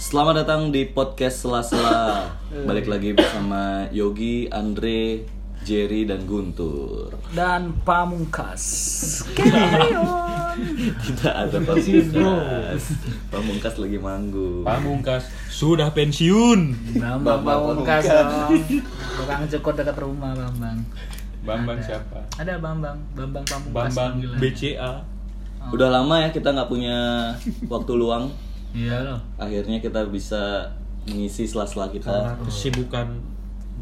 Selamat datang di podcast Sela-Sela. Balik lagi bersama Yogi, Andre, Jerry, dan Guntur. dan pamungkas. Tidak ada pamungkas. Pamungkas lagi manggung. Pamungkas sudah pensiun. Bambang pamungkas dong. Tukang cukur dekat rumah Bambang. Bambang siapa? Ada Bambang, Bambang pamungkas. Bambang panggilan. BCA. Udah lama ya kita nggak punya waktu luang. Iya loh. Akhirnya kita bisa mengisi sela-sela kita. Kesibukan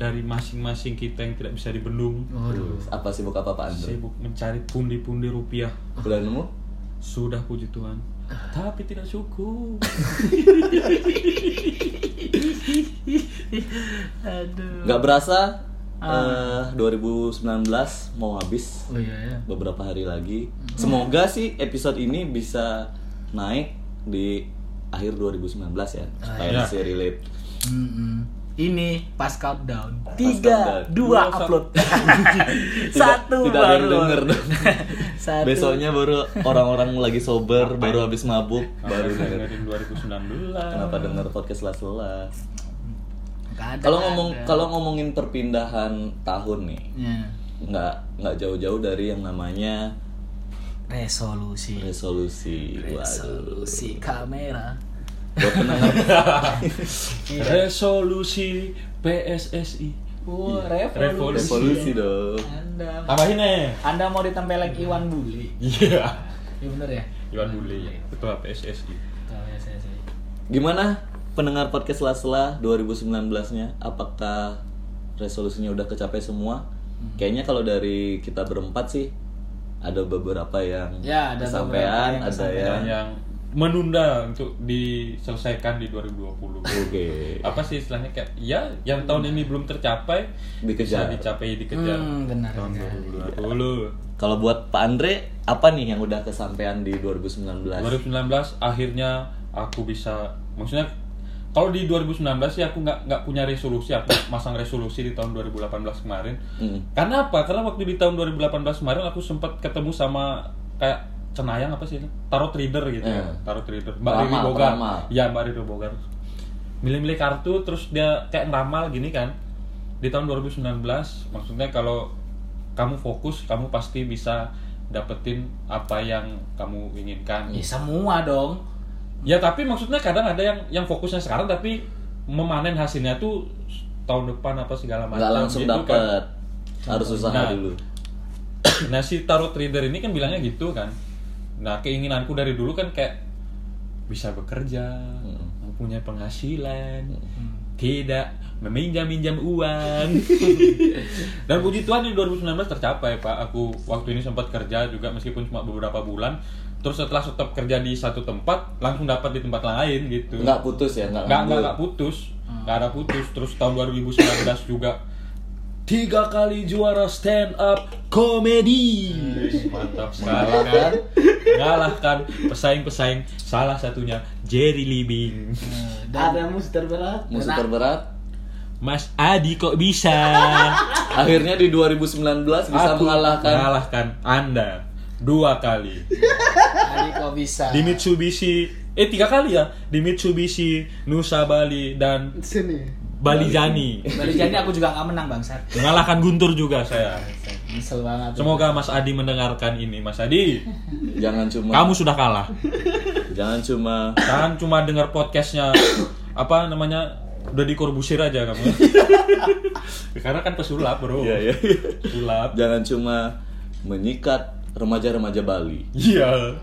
dari masing-masing kita yang tidak bisa dibendung. Waduh. Apa sibuk apa Pak Andre? Sibuk mencari pundi-pundi rupiah. Udah nemu? Sudah puji Tuhan. Tapi tidak cukup. Aduh. Nggak berasa eh, 2019 mau habis. Oh iya ya. beberapa hari lagi. Semoga sih episode ini bisa naik di akhir 2019 ya. Ah, Supaya iya. masih relate. Mm-mm. Ini pas countdown. countdown. Tiga, dua, upload. Satu tidak ada yang baru. denger dong. Satu. Besoknya baru orang-orang lagi sober, baru habis mabuk, baru Baru denger. dengerin 2019. Kenapa denger podcast sela-sela? Nggak ada, Kalau nggak ngomong ada. kalau ngomongin perpindahan tahun nih, Ya. nggak nggak jauh-jauh dari yang namanya resolusi. resolusi. Waduh. Resolusi kamera. Buat pendengar Resolusi PSSI. Oh, Wah, revolusi dong. Anda Tambahin eh. Anda mau ditempelek Iwan Bule? Iya. Iya bener ya? Iwan Bule, iya. ketua PSSI. Tahu ya saya saya. Gimana pendengar podcast Sela-Sela 2019-nya? Apakah resolusinya udah kecapai semua? Hmm. Kayaknya kalau dari kita berempat sih ada beberapa yang Ya, ada beberapa kesampaian, yang ada yang Dan yang menunda untuk diselesaikan di 2020. oke. apa sih istilahnya kayak ya yang tahun ini belum tercapai Dikejar. bisa dicapai dikejar Hmm, benar. tahun benar. 2020 Kalau buat Pak Andre, apa nih yang udah kesampaian di 2019? 2019 akhirnya aku bisa maksudnya kalau di 2019 sih aku nggak nggak punya resolusi aku masang resolusi di tahun 2018 kemarin Hmm. karena apa karena waktu di tahun 2018 kemarin aku sempat ketemu sama kayak cenayang apa sih tarot trader gitu ya Hmm. tarot trader mbak Peramal, Riri Bogar peramal. ya mbak Riri Bogar milih-milih kartu terus dia kayak ngeramal gini kan di tahun 2019 maksudnya kalau kamu fokus kamu pasti bisa dapetin apa yang kamu inginkan Ya semua dong. Ya tapi maksudnya kadang ada yang yang fokusnya sekarang tapi memanen hasilnya tuh tahun depan apa segala macam. Nggak langsung gitu kan. dapet, harus usaha Nah. dulu. Nah si tarot trader ini kan bilangnya gitu kan. Nah keinginanku dari dulu kan kayak bisa bekerja, Hmm. mempunyai penghasilan, tidak meminjam-minjam uang. Dan puji Tuhan di 2019 tercapai pak. Aku waktu ini sempat kerja juga meskipun cuma beberapa bulan. Terus setelah stop kerja di satu tempat, langsung dapat di tempat lain gitu Nggak putus ya, nggak nggak nggak nganggur. nggak putus Hmm. nggak ada putus terus tahun 2019 juga tiga kali juara stand up komedi mantap sekali Mengalahkan. kan mengalahkan pesaing-pesaing salah satunya Jerry Libing Eh, Dan ada muster berat. Musuh terberat. Mas Adi kok bisa Akhirnya di 2019 bisa Aku mengalahkan mengalahkan Anda dua kali Tadi kok bisa. di Mitsubishi eh tiga kali ya di Mitsubishi Nusa Bali dan sini. Bali Jani Dari jadi aku juga nggak menang bang Sar. mengalahkan Guntur juga saya Misal banget. Semoga Mas Adi mendengarkan ini, Mas Adi. jangan cuma Kamu sudah kalah. jangan cuma Jangan cuma dengar podcastnya apa namanya udah di Corbusier aja kamu. Karena kan pesulap bro. Iya, iya. Pesulap. jangan cuma menyikat remaja-remaja Bali. Iya.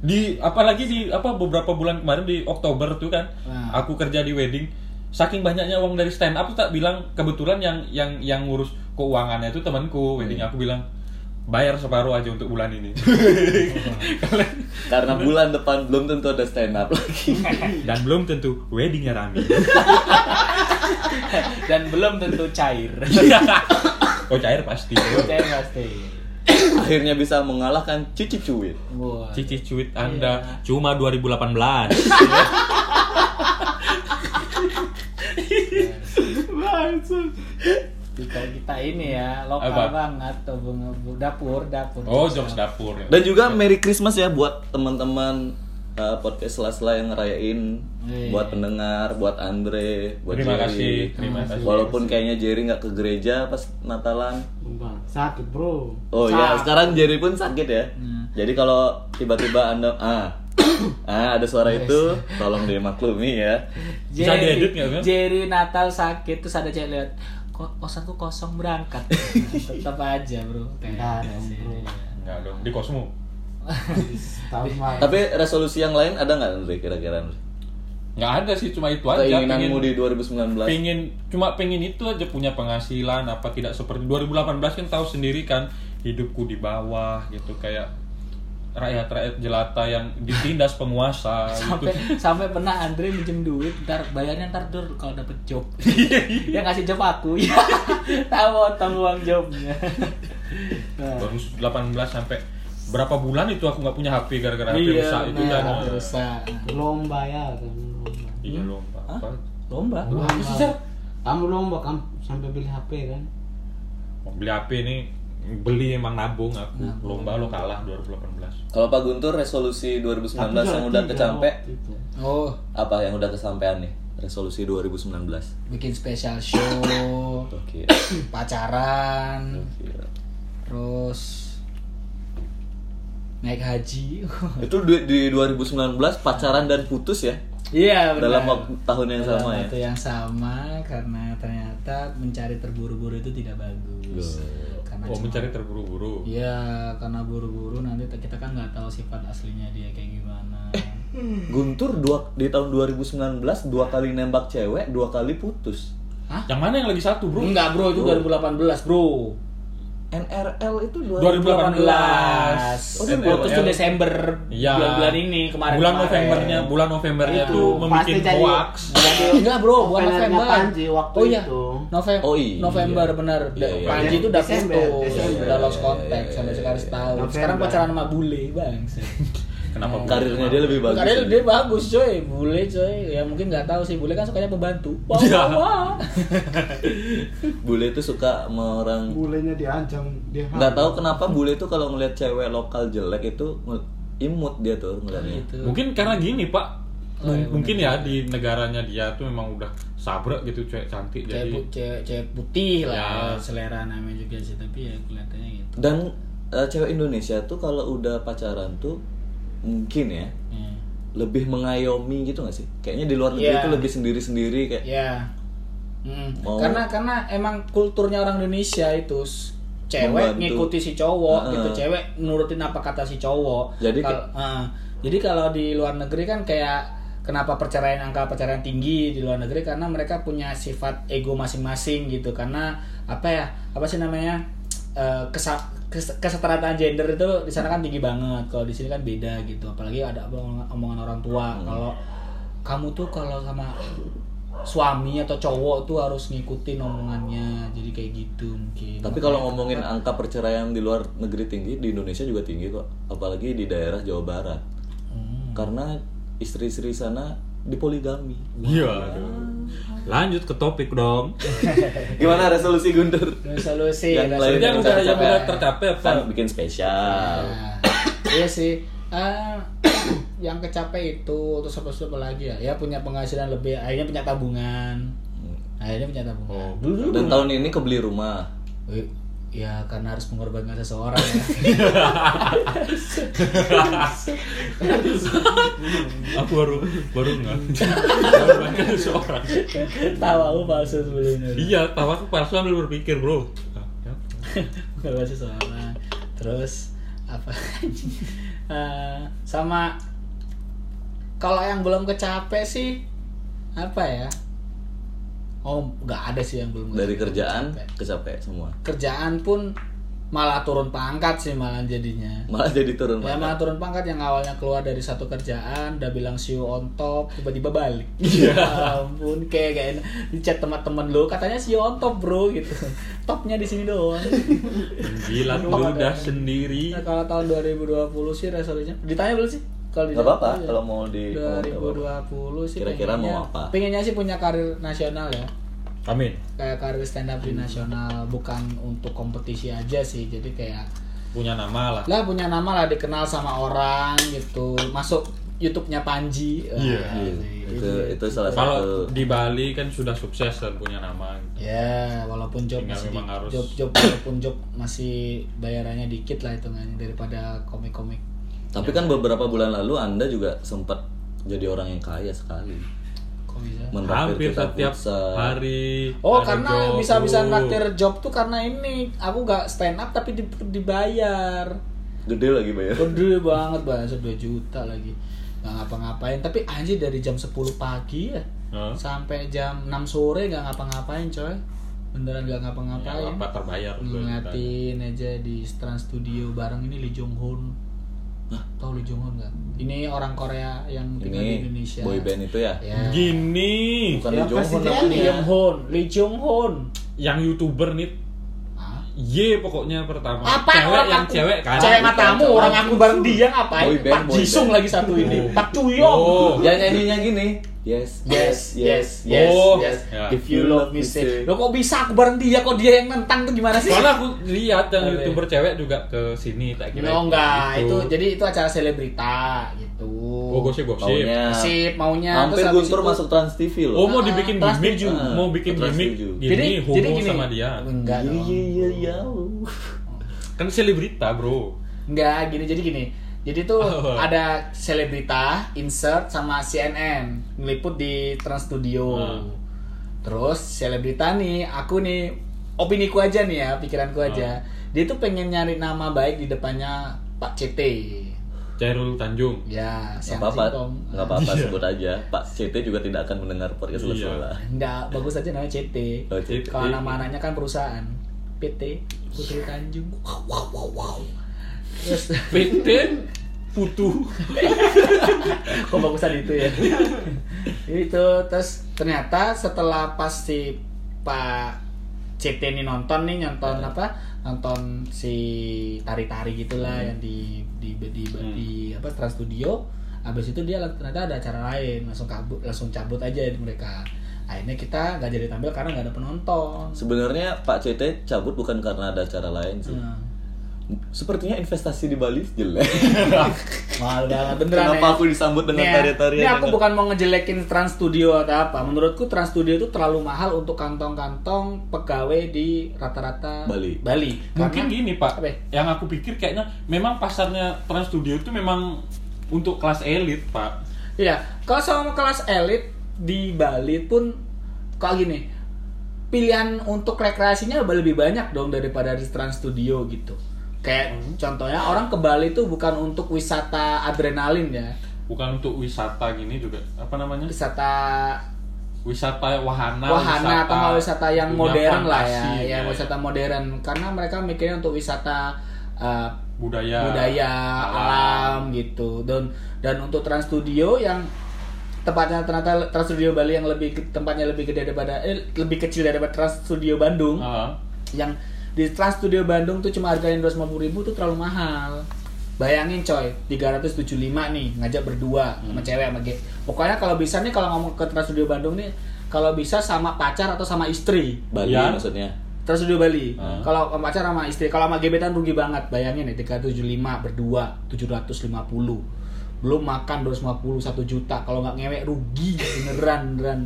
Di apalagi di apa beberapa bulan kemarin di Oktober tuh kan, Nah. aku kerja di wedding. Saking banyaknya uang dari stand up tuh tak bilang kebetulan yang yang yang ngurus keuangannya itu temanku wedding Iya. aku bilang bayar separuh aja untuk bulan ini. Kalian Karena bulan depan belum tentu ada stand up lagi. dan belum tentu weddingnya rame. Dan belum tentu cair. Iya. oh cair pasti. Cair pasti. Akhirnya bisa mengalahkan Cici Cuit. Wah. Cici Iya. cuit Anda cuma 2018. Kita kita ini ya lokal Apa? banget tuh bunga- bu- dapur dapur. Oh jokes dapur. Dan juga Merry Christmas ya buat teman-teman eh, podcast sela-sela yang ngerayain Iya. buat pendengar, buat Andre, buat Terima kasih, Jerry. terima kasih. Walaupun kayaknya Jerry nggak ke gereja pas Natalan. Bang, sakit bro. Oh ya, sekarang Jerry pun sakit ya. Jadi kalau tiba-tiba Anda ah ah ada suara itu, tolong dimaklumi ya. Bisa diedit nggak, Bang? Jerry Natal sakit terus ada cewek lihat kok kosanku kosong berangkat. Tetap aja bro. Nggak dong, Sih. bro. Enggak dong, di kosmo. Tahu mah. Tapi resolusi yang lain ada nggak Andre kira-kira Andre? Enggak ada sih, cuma itu aja. Keinginanmu Pengen, di 2019. pengen cuma pengen itu aja punya penghasilan apa tidak seperti 2018 kan tahu sendiri kan hidupku di bawah gitu kayak rakyat-rakyat jelata yang ditindas penguasa gitu. sampai sampai pernah Andre minjem duit ntar bayarnya ntar dur kalau dapet job Iya, dia ngasih job aku ya tahu potong uang jobnya Nah, Baru 18 sampai berapa bulan itu aku nggak punya HP gara-gara HP rusak itu Iya, benar, kan. dosa Lomba ya, kamu lomba. Iya Hmm? lomba. Apa? lomba Lomba. Kamu lomba kamu sampai beli HP kan? Mau beli HP ini beli emang nabung aku. Lomba lo kalah 2018. Kalau Pak Guntur resolusi 2019 Aku yang juara udah tiga kecampe waktu itu. oh apa yang udah kesampaian nih resolusi 2019? bikin special show Oke. pacaran Oke. terus naik haji Itu du- di 2019 pacaran dan putus ya iya dalam benar. waktu tahun yang Dalam sama ya. waktu yang sama karena ternyata mencari terburu-buru itu tidak bagus karena Oh cuma- mencari terburu-buru. Iya, karena buru-buru nanti kita kan nggak tahu sifat aslinya dia kayak gimana. Guntur dua di tahun 2019 dua kali nembak cewek, dua kali putus. Yang mana yang lagi satu bro? Enggak bro, itu 2018 bro. NRL itu 2018. Oh, Oh, putus tuh ya? 2018. Desember Iya. bulan-bulan ini kemarin. Bulan Novembernya, bulan Novembernya Itu, itu pasti memikin jadi- hoax. Enggak bro, bulan Openernya November. Panji waktu oh iya, itu. November, Oh, iya. November benar. Iya, iya. Panji itu udah Desember, putus, Desember. udah lost Iya, contact iya, sampai iya, sekarang iya. setahun. November. Sekarang pacaran sama bule bang. Kenapa bule? Karirnya dia lebih bagus. iya. Karena Oh, dia bagus coy, bule coy. Ya mungkin nggak tahu sih, bule kan sukanya pembantu. Wah, Iya. wah, wah. Bule itu suka sama orang Bulenya diancam dia. nggak tahu kenapa bule itu kalau ngeliat cewek lokal jelek itu nge- imut dia tuh ngeliatnya. Gitu. Mungkin karena gini pak. Oh, iya, mungkin ya di negaranya dia tuh memang udah sabrek gitu cewek cantik cewek, jadi pu- cewek- cewek putih lah Ya. selera namanya juga sih tapi ya kelihatannya gitu Dan eh, cewek Indonesia tuh kalau udah pacaran tuh mungkin ya ya lebih mengayomi gitu gak sih? Kayaknya di luar negeri Iya. itu lebih sendiri-sendiri kayak Ya. Mm. Mau- karena karena emang kulturnya orang Indonesia itu s- Membantu. cewek ngikuti si Heeh. cowok gitu cewek nurutin apa kata si cowok Jadi Kal- eh, jadi kalau di luar negeri kan kayak kenapa perceraian angka perceraian tinggi di luar negeri karena mereka punya sifat ego masing-masing gitu karena apa ya apa sih namanya Eh, kesa- kes- kesetaraan gender itu di sana kan tinggi banget kalau di sini kan beda gitu apalagi ada omongan, omongan orang tua Hmm. kalau kamu tuh kalau sama suami atau cowok tuh harus ngikutin omongannya jadi kayak gitu mungkin Tapi kalau ngomongin angka perceraian di luar negeri tinggi, di Indonesia juga tinggi kok. Apalagi di daerah Jawa Barat. Hmm. Karena istri-istri sana dipoligami. Iya. aduh. Lanjut ke topik dong. Gimana resolusi Guntur? solusi Yang ada lain solusi. yang udah- yang Tercapai. udah tercapai Kan bikin spesial. Nah, iya sih Eh, yang kecapai itu terus apa apa lagi ya ya punya penghasilan lebih akhirnya punya tabungan akhirnya punya tabungan Oh, dulu dulu Dan tahun ini kebeli rumah. Eh, ya karena harus mengorbankan seseorang ya Aku baru baru nggak. Baru banyak seorang. tawa aku palsu sebelumnya Iya, tawa aku palsu ambil berpikir bro. Nah, ya. Gak baca soalnya Terus apa Eh, sama kalau yang belum kecape sih apa ya? Oh, nggak ada sih yang belum Dari kecape- kerjaan kecape. kecape semua. Kerjaan pun malah turun pangkat sih malah jadinya. Malah jadi turun Ya pangkat. malah turun pangkat yang awalnya keluar dari satu kerjaan, udah bilang see you on top, tiba-tiba balik. Iya. Ya ampun, kayak gak enak. Di chat teman-teman lu katanya see you on top, bro gitu. Topnya di sini doang. Gila Aduh. udah sendiri. Nah, kalau tahun 2020 sih resolusinya ditanya belum sih? Kalau Gak ditanya apa-apa belum ya? kalau mau di ngomong gak apa-apa. 2020 sih Kira-kira pengennya- mau apa? Pengennya sih punya karir nasional ya. Amin. Kayak karir stand up di nasional bukan untuk kompetisi aja sih. Jadi kayak Punya nama lah. lah punya nama lah dikenal sama orang gitu. Masuk YouTube-nya Panji. Wah, gitu. Iya. asik. itu itu salah Kalau satu di Bali kan sudah sukses dan punya nama. gitu. Ya, walaupun job Tinggal masih di- memang harus- job job walaupun job masih bayarannya dikit lah hitungannya daripada komik-komik. tapi Iya. kan beberapa bulan lalu anda juga sempat jadi orang yang kaya sekali Kok bisa? Menraktir Hampir kita setiap futsal. hari. Oh, ada karena job bisa-bisa lu. naktir job tuh karena ini aku gak stand up tapi di- dibayar. gede lagi ya. bayar Gede banget bahasa 2 juta lagi. Gak ngapa-ngapain, tapi anjir dari jam 10 pagi ya Hah? sampai jam 6 sore gak ngapa-ngapain, coy. Beneran gak Ya, ngapa-ngapain. apa terbayar tuh. ngeliatin aja di Trans Studio bareng ini Lee Jong Hoon tau Lee Jong Hoon nggak ini orang Korea yang tinggal di ini Indonesia boy band itu ya ya Gini, bukan Ya, Lee Jong Hoon presiden apa? Lee Jong Hoon Lee Jong Hoon yang youtuber nih Hah? Y pokoknya pertama. apa Cewek orang yang aku- cewek kan. cewek matamu orang aku bareng dia ngapain Boy band, Pak boy Jisung band. lagi satu ini Oh. Pak Chuyong Oh. yang nyanyinya Ya, gini yes yes yes yes Oh. yes Ya. if you love me say lo kok bisa aku bareng dia kok dia yang nentang tuh gimana sih Soalnya aku lihat yang Oke. youtuber cewek juga ke sini tak kira. Oh enggak, itu gitu. jadi itu acara selebrita gitu. Oh gosip-gosip. maunya Sip, maunya hampir terus habis Guntur itu- masuk Trans TV Oh loh mau dibikin Trans gimmick, tujuh. Ah, mau bikin Trans gimmick tujuh. gini homo sama dia. Enggak Iya, dong. iya iya iya Kan selebrita bro. Enggak gini jadi gini. Jadi tuh Oh. ada selebrita insert sama CNN ngeliput di Trans Studio. Ah. Hmm. Terus selebrita nih aku nih opiniku aja nih ya, pikiranku Hmm. aja. Dia tuh pengen nyari nama baik di depannya Pak CT. Cairul Tanjung. nggak Ya, siapa apa-apa sih Tom? nggak apa-apa sebut aja Pak CT juga tidak akan mendengar podcast Iya. Lesbola Enggak, bagus aja namanya CT. Oh, CT. Kalau nama anaknya kan perusahaan. PT Putri Tanjung. Wow, wow, wow, wow. Terus PT Putu. kok bagusan itu ya. itu terus ternyata setelah pas si Pak CT ini nonton nih nonton apa? Nonton si tari-tari gitulah yang di di di, di, Hmm. di apa Trans Studio. Abis itu dia ternyata ada acara lain, langsung kabut, langsung cabut aja mereka. Akhirnya kita nggak jadi tampil karena nggak ada penonton. sebenarnya Pak CT cabut bukan karena ada acara lain sih Hmm. sepertinya investasi di Bali jelek Mahal banget beneran. Kenapa ya. aku disambut dengan Nih ya, tarian-tarian Ini aku ini? bukan mau ngejelekin Trans Studio atau apa. Menurutku Trans Studio itu terlalu mahal untuk kantong-kantong pegawai di rata-rata Bali. Bali. Karena- Mungkin gini pak, Apa ya? yang aku pikir kayaknya memang pasarnya Trans Studio itu memang untuk kelas elit pak. Iya, kalau sama kelas elit di Bali pun kalau gini pilihan untuk rekreasinya lebih banyak dong daripada di Trans Studio gitu. Kayak contohnya orang ke Bali itu bukan untuk wisata adrenalin ya, Bukan untuk wisata gini juga apa namanya? wisata Wisata wahana. wahana atau nggak Nah, wisata yang dunia modern lah ya, fantasi, yang wisata modern karena mereka mikirnya untuk wisata uh, budaya, budaya alam. gitu dan dan untuk Trans Studio yang tempatnya ternyata Trans Studio Bali yang lebih tempatnya lebih gede daripada eh, lebih kecil daripada Trans Studio Bandung Ah. yang di Trans Studio Bandung tuh cuma harganya 250 ribu tuh terlalu mahal bayangin coy 375 nih ngajak berdua sama cewek sama ge pokoknya kalau bisa nih kalau ngomong ke Trans Studio Bandung nih kalau bisa sama pacar atau sama istri Bali Iya. maksudnya Trans Studio Bali Hmm. kalau sama pacar sama istri kalau sama gebetan rugi banget bayangin nih 375 berdua 750 belum makan 250 1 juta kalau nggak ngewek rugi beneran beneran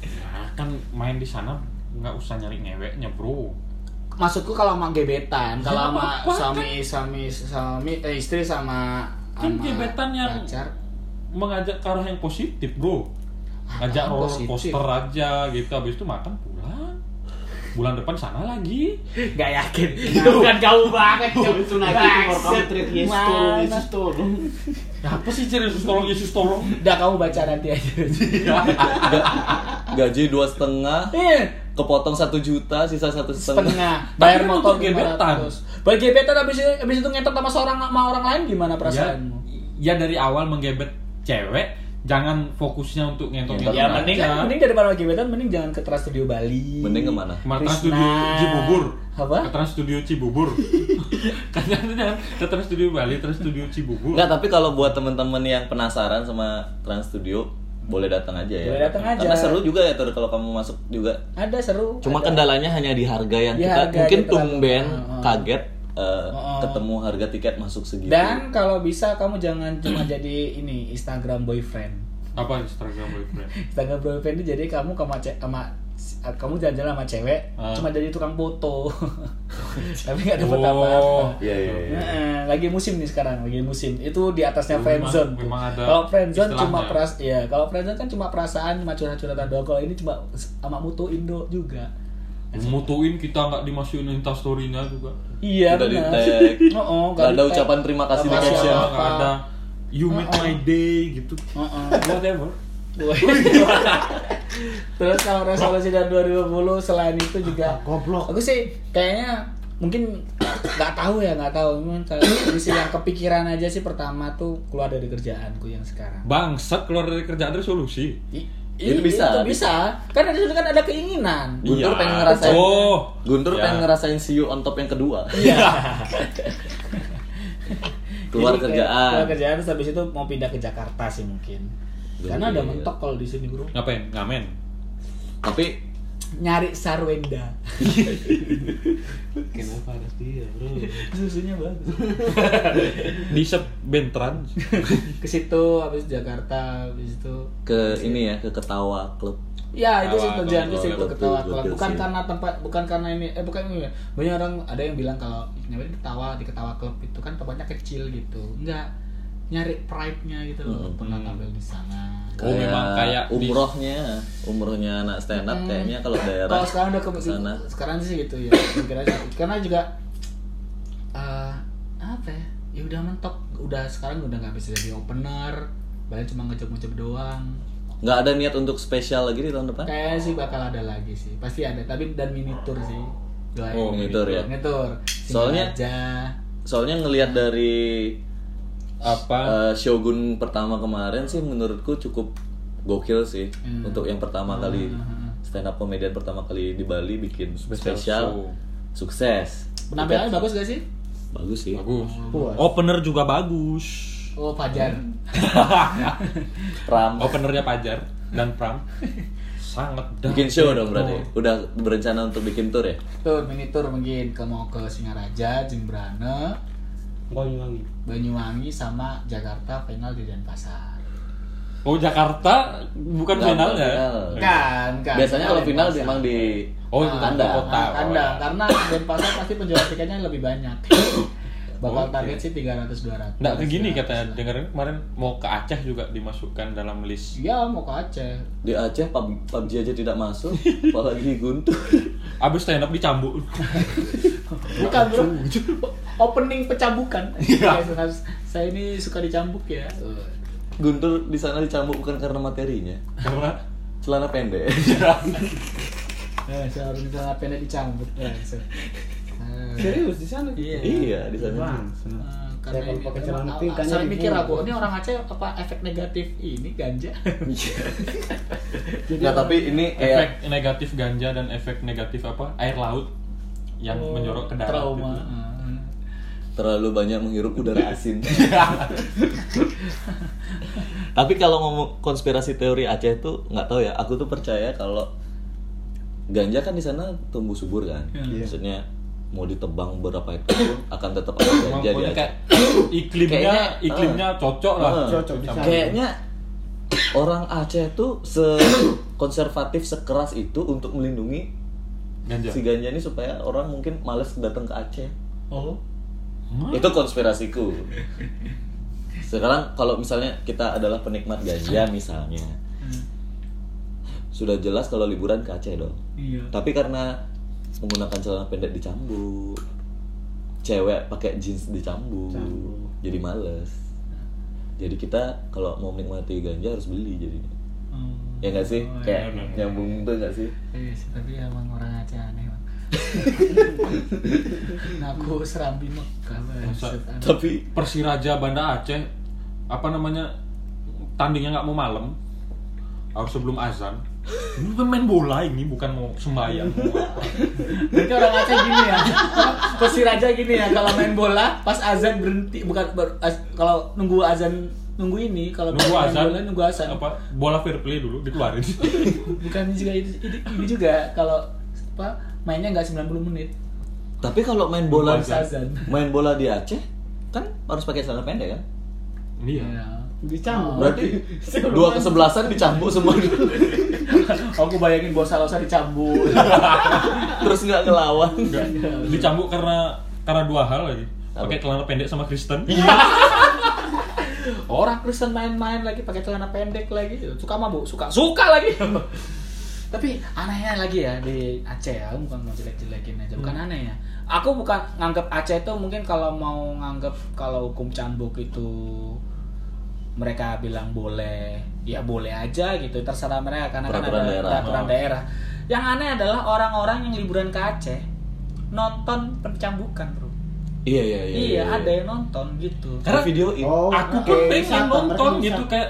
Ya, kan main di sana nggak usah nyari ngeweknya bro. maksudku kalau sama gebetan Ya, kalau sama apa-apa, suami suami suami eh, istri sama Kan sama gebetan yang- pacar Mengajak ke arah yang positif bro. Ngajak Apaan roller Ah, positif? coaster aja gitu, habis itu makan pulang. Bulan depan sana lagi. nggak yakin Iya. kan bukan kau banget Itu itu nanti itu for kamu trik Yesus tolong Mana? Yesus tolong. Ya, apa sih ciri Yesus tolong Yesus tolong? udah kamu baca nanti aja gaji dua setengah Eh, kepotong satu juta sisa satu setengah setengah bayar Tapi kan motor untuk gebetan. 500. bagi gebetan habis itu habis itu ngetok sama seorang sama orang lain gimana perasaanmu Ya, ya dari awal menggebet cewek, jangan fokusnya untuk ngentot-ngentot. ya Ya, mending aja. mending daripada bagi gebetan mending jangan ke Trans Studio Bali mending kemana Kemarin Trans Krishna. Studio Cibubur. Apa? Ke Trans Studio Cibubur. Katanya ke Trans Studio Bali, Trans Studio Cibubur. Enggak, tapi kalau buat temen-temen yang penasaran sama Trans Studio boleh datang aja ya. Boleh datang aja. Karena seru juga ya Tur kalau kamu masuk juga. ada seru Cuma ada. kendalanya hanya di harga yang Di kita harga mungkin aja terlalu tumben mahal. kaget eh, ketemu harga tiket masuk segitu. Dan kalau bisa kamu jangan cuma jadi ini Instagram boyfriend. apa Instagram boyfriend Instagram boyfriend itu jadi kamu sama ce- sama kamu jalan-jalan sama cewek Ah. cuma jadi tukang foto. Tapi nggak dapat Oh. apa-apa. Iya iya iya. Oh, Heeh, lagi musim nih sekarang, lagi musim. Itu di atasnya Memang- friendzone. tuh. memang ada Kalau friendzone cuma istilahnya. peras, ya kalau friendzone kan cuma perasaan, cuma curhat-curhatan doang. Kalau ini cuma s- sama mutu Indo juga. mutuin kita nggak dimasukin instastorynya juga Iya Udah benar. di-tag. Oh, oh, Nggak ada di-tag. ucapan terima kasih di Nggak Nggak caption. ada. Oh, nggak ada you made my day gitu Heeh. whatever Terus kalau resolusi dari 2020 selain itu juga Goblok. aku sih kayaknya mungkin nggak tahu ya nggak tahu cuman kalau aku sih yang kepikiran aja sih pertama tuh keluar dari kerjaanku yang sekarang bangsat keluar dari kerjaan resolusi I- Itu i- bisa. itu bisa kan ada kan ada keinginan Guntur Iya. pengen ngerasain. Oh. Guntur Iya. pengen ngerasain see you on top yang kedua. iya Keluar Jadi kayak kerjaan. keluar kerjaan terus habis itu mau pindah ke Jakarta sih mungkin Jadi- karena udah mentok kalau di sini bro ngapain ngamen Tapi nyari sarwenda Kenapa harus dia, bro? susunya bagus di sep bentran ke situ habis Jakarta habis itu ke ini ya ke ketawa klub. ya itu sih Ketawa, tujuan ke ketawa, situ ketawa. ketawa Betul, ketawa betul bukan sih. karena tempat bukan karena ini eh bukan ini ya. banyak orang ada yang bilang kalau nyari ketawa di ketawa klub itu kan tempatnya kecil gitu enggak nyari pride nya gitu loh Hmm. pernah tampil di sana Oh, memang kayak di- umrohnya, umrohnya anak stand up kayaknya Hmm. kalau daerah kalau sekarang udah ke sana. sekarang sih gitu ya pikirannya. karena juga eh, apa ya ya udah mentok udah sekarang udah nggak bisa jadi opener banyak cuma ngejok-ngejok doang nggak ada niat untuk spesial lagi di tahun depan? kayaknya sih bakal ada lagi sih pasti ada tapi dan mini tour sih doain Oh, mini tour ya. mini tour Single Soalnya- aja Soalnya ngelihat dari eh, apa Shogun pertama kemarin sih menurutku cukup gokil sih Hmm. untuk yang pertama kali hmm. stand up komedian pertama kali di Bali bikin Spesial spesial, show. sukses. penampilannya bagus gak sih Bagus sih. bagus Puas. opener juga bagus oh Fajar Hmm. Ram openernya pajar dan pram sangat bikin show dong berarti. Udah berencana untuk bikin tour ya? tour mini tour mungkin ke mau ke Singaraja Jembrane Banyuwangi. Banyuwangi sama Jakarta final di Denpasar oh Jakarta bukan ya? Nggak, finalnya final. kan kan Iya. Biasanya kalau final Denpasar. memang di oh Nah, tanda. nah, kota Oh, iya. tanda iya. karena Denpasar pasti penjualan tiketnya lebih banyak bakal Oke. target sih 300 200 Nggak kayak gini katanya dengerin kemarin mau ke Aceh juga dimasukkan dalam list ya mau ke Aceh Di Aceh pub- PUBG aja tidak masuk, apalagi Guntur. abis stand up dicambuk bukan bro opening pecambukan Iya. Saya- saya- saya ini suka dicambuk ya Guntur di sana dicambuk bukan karena materinya, karena celana pendek. Eh, saya harus misalnya pendek dicambuk ya, saya- Eh, Serius di sana? iya, di sana. Bang, senang. eh, karena Saya ini, kalau pakai celana pink, saya kayaknya mikir dibunuh. aku ini orang Aceh apa efek negatif ini ganja Nggak, Nah, tapi ini kayak efek negatif ganja dan efek negatif apa air laut yang menjorok ke darat Oh, trauma gitu. Eh. terlalu banyak menghirup udara asin. Tapi kalau ngomong konspirasi teori Aceh tuh nggak tahu ya. Aku tuh percaya kalau ganja kan di sana tumbuh subur kan. Iya. Maksudnya mau ditebang berapa hektar pun akan tetap ada Emang ganja di pokoknya Aceh. kayak iklimnya Kayaknya, ah. iklimnya cocok lah eh, cocok di sana. Kayaknya orang Aceh tuh se konservatif sekeras itu untuk melindungi ganja si ganja ini supaya orang mungkin males datang ke Aceh. oh Hah? Itu konspirasiku. Sekarang kalau misalnya kita adalah penikmat ganja misalnya, Eh, sudah jelas kalau liburan ke Aceh dong. iya Tapi karena menggunakan celana pendek dicambuk, cewek pakai jeans dicambuk, Cambuk. jadi males. Jadi kita kalau mau menikmati ganja harus beli jadinya. Ya nggak sih? Oh, Kayak iya, iya. nyambung tuh nggak sih? Iya sih, tapi emang orang Aceh aneh bang. Naku serambi Mekah Masa- bangsat, aneh. Tapi Persiraja Banda Aceh apa namanya tandingnya nggak mau malam harus sebelum azan ini main bola ini bukan mau sembahyang mau apa. Berarti orang Aceh gini ya. Pesir aja gini ya kalau main bola pas azan berhenti bukan ber- az- kalau nunggu azan nunggu ini kalau nunggu main azan bola, nunggu azan. apa bola fair play dulu dikeluarin Bukan juga itu, itu, ini juga kalau apa mainnya nggak 90 menit. Tapi kalau main bola Zazan. main bola di Aceh kan harus pakai celana pendek kan? Iya. Dicambuk. Berarti dua kesebelasan dicambuk semua Aku bayangin bos Salosa dicambuk. terus nggak ngelawan. Dicambuk karena karena dua hal lagi. Apa? Pakai celana pendek sama Kristen. Orang Kristen main-main lagi pakai celana pendek lagi, suka mabuk, suka suka lagi. Tapi anehnya lagi ya di Aceh ya, bukan mau jelek-jelekin aja, bukan Hmm. aneh ya. Aku bukan nganggap Aceh itu mungkin kalau mau nganggap kalau hukum cambuk itu mereka bilang boleh, ya boleh aja gitu, terserah mereka karena Peraturan kan ada daerah. Oh. peraturan daerah. Yang aneh adalah orang-orang yang liburan ke Aceh nonton pencambukan, Bro. Iya iya iya. Iya, ada yang nonton gitu. Karena video ini. Oh, aku pun oke, pengen wisata, nonton berarti gitu wisata. kayak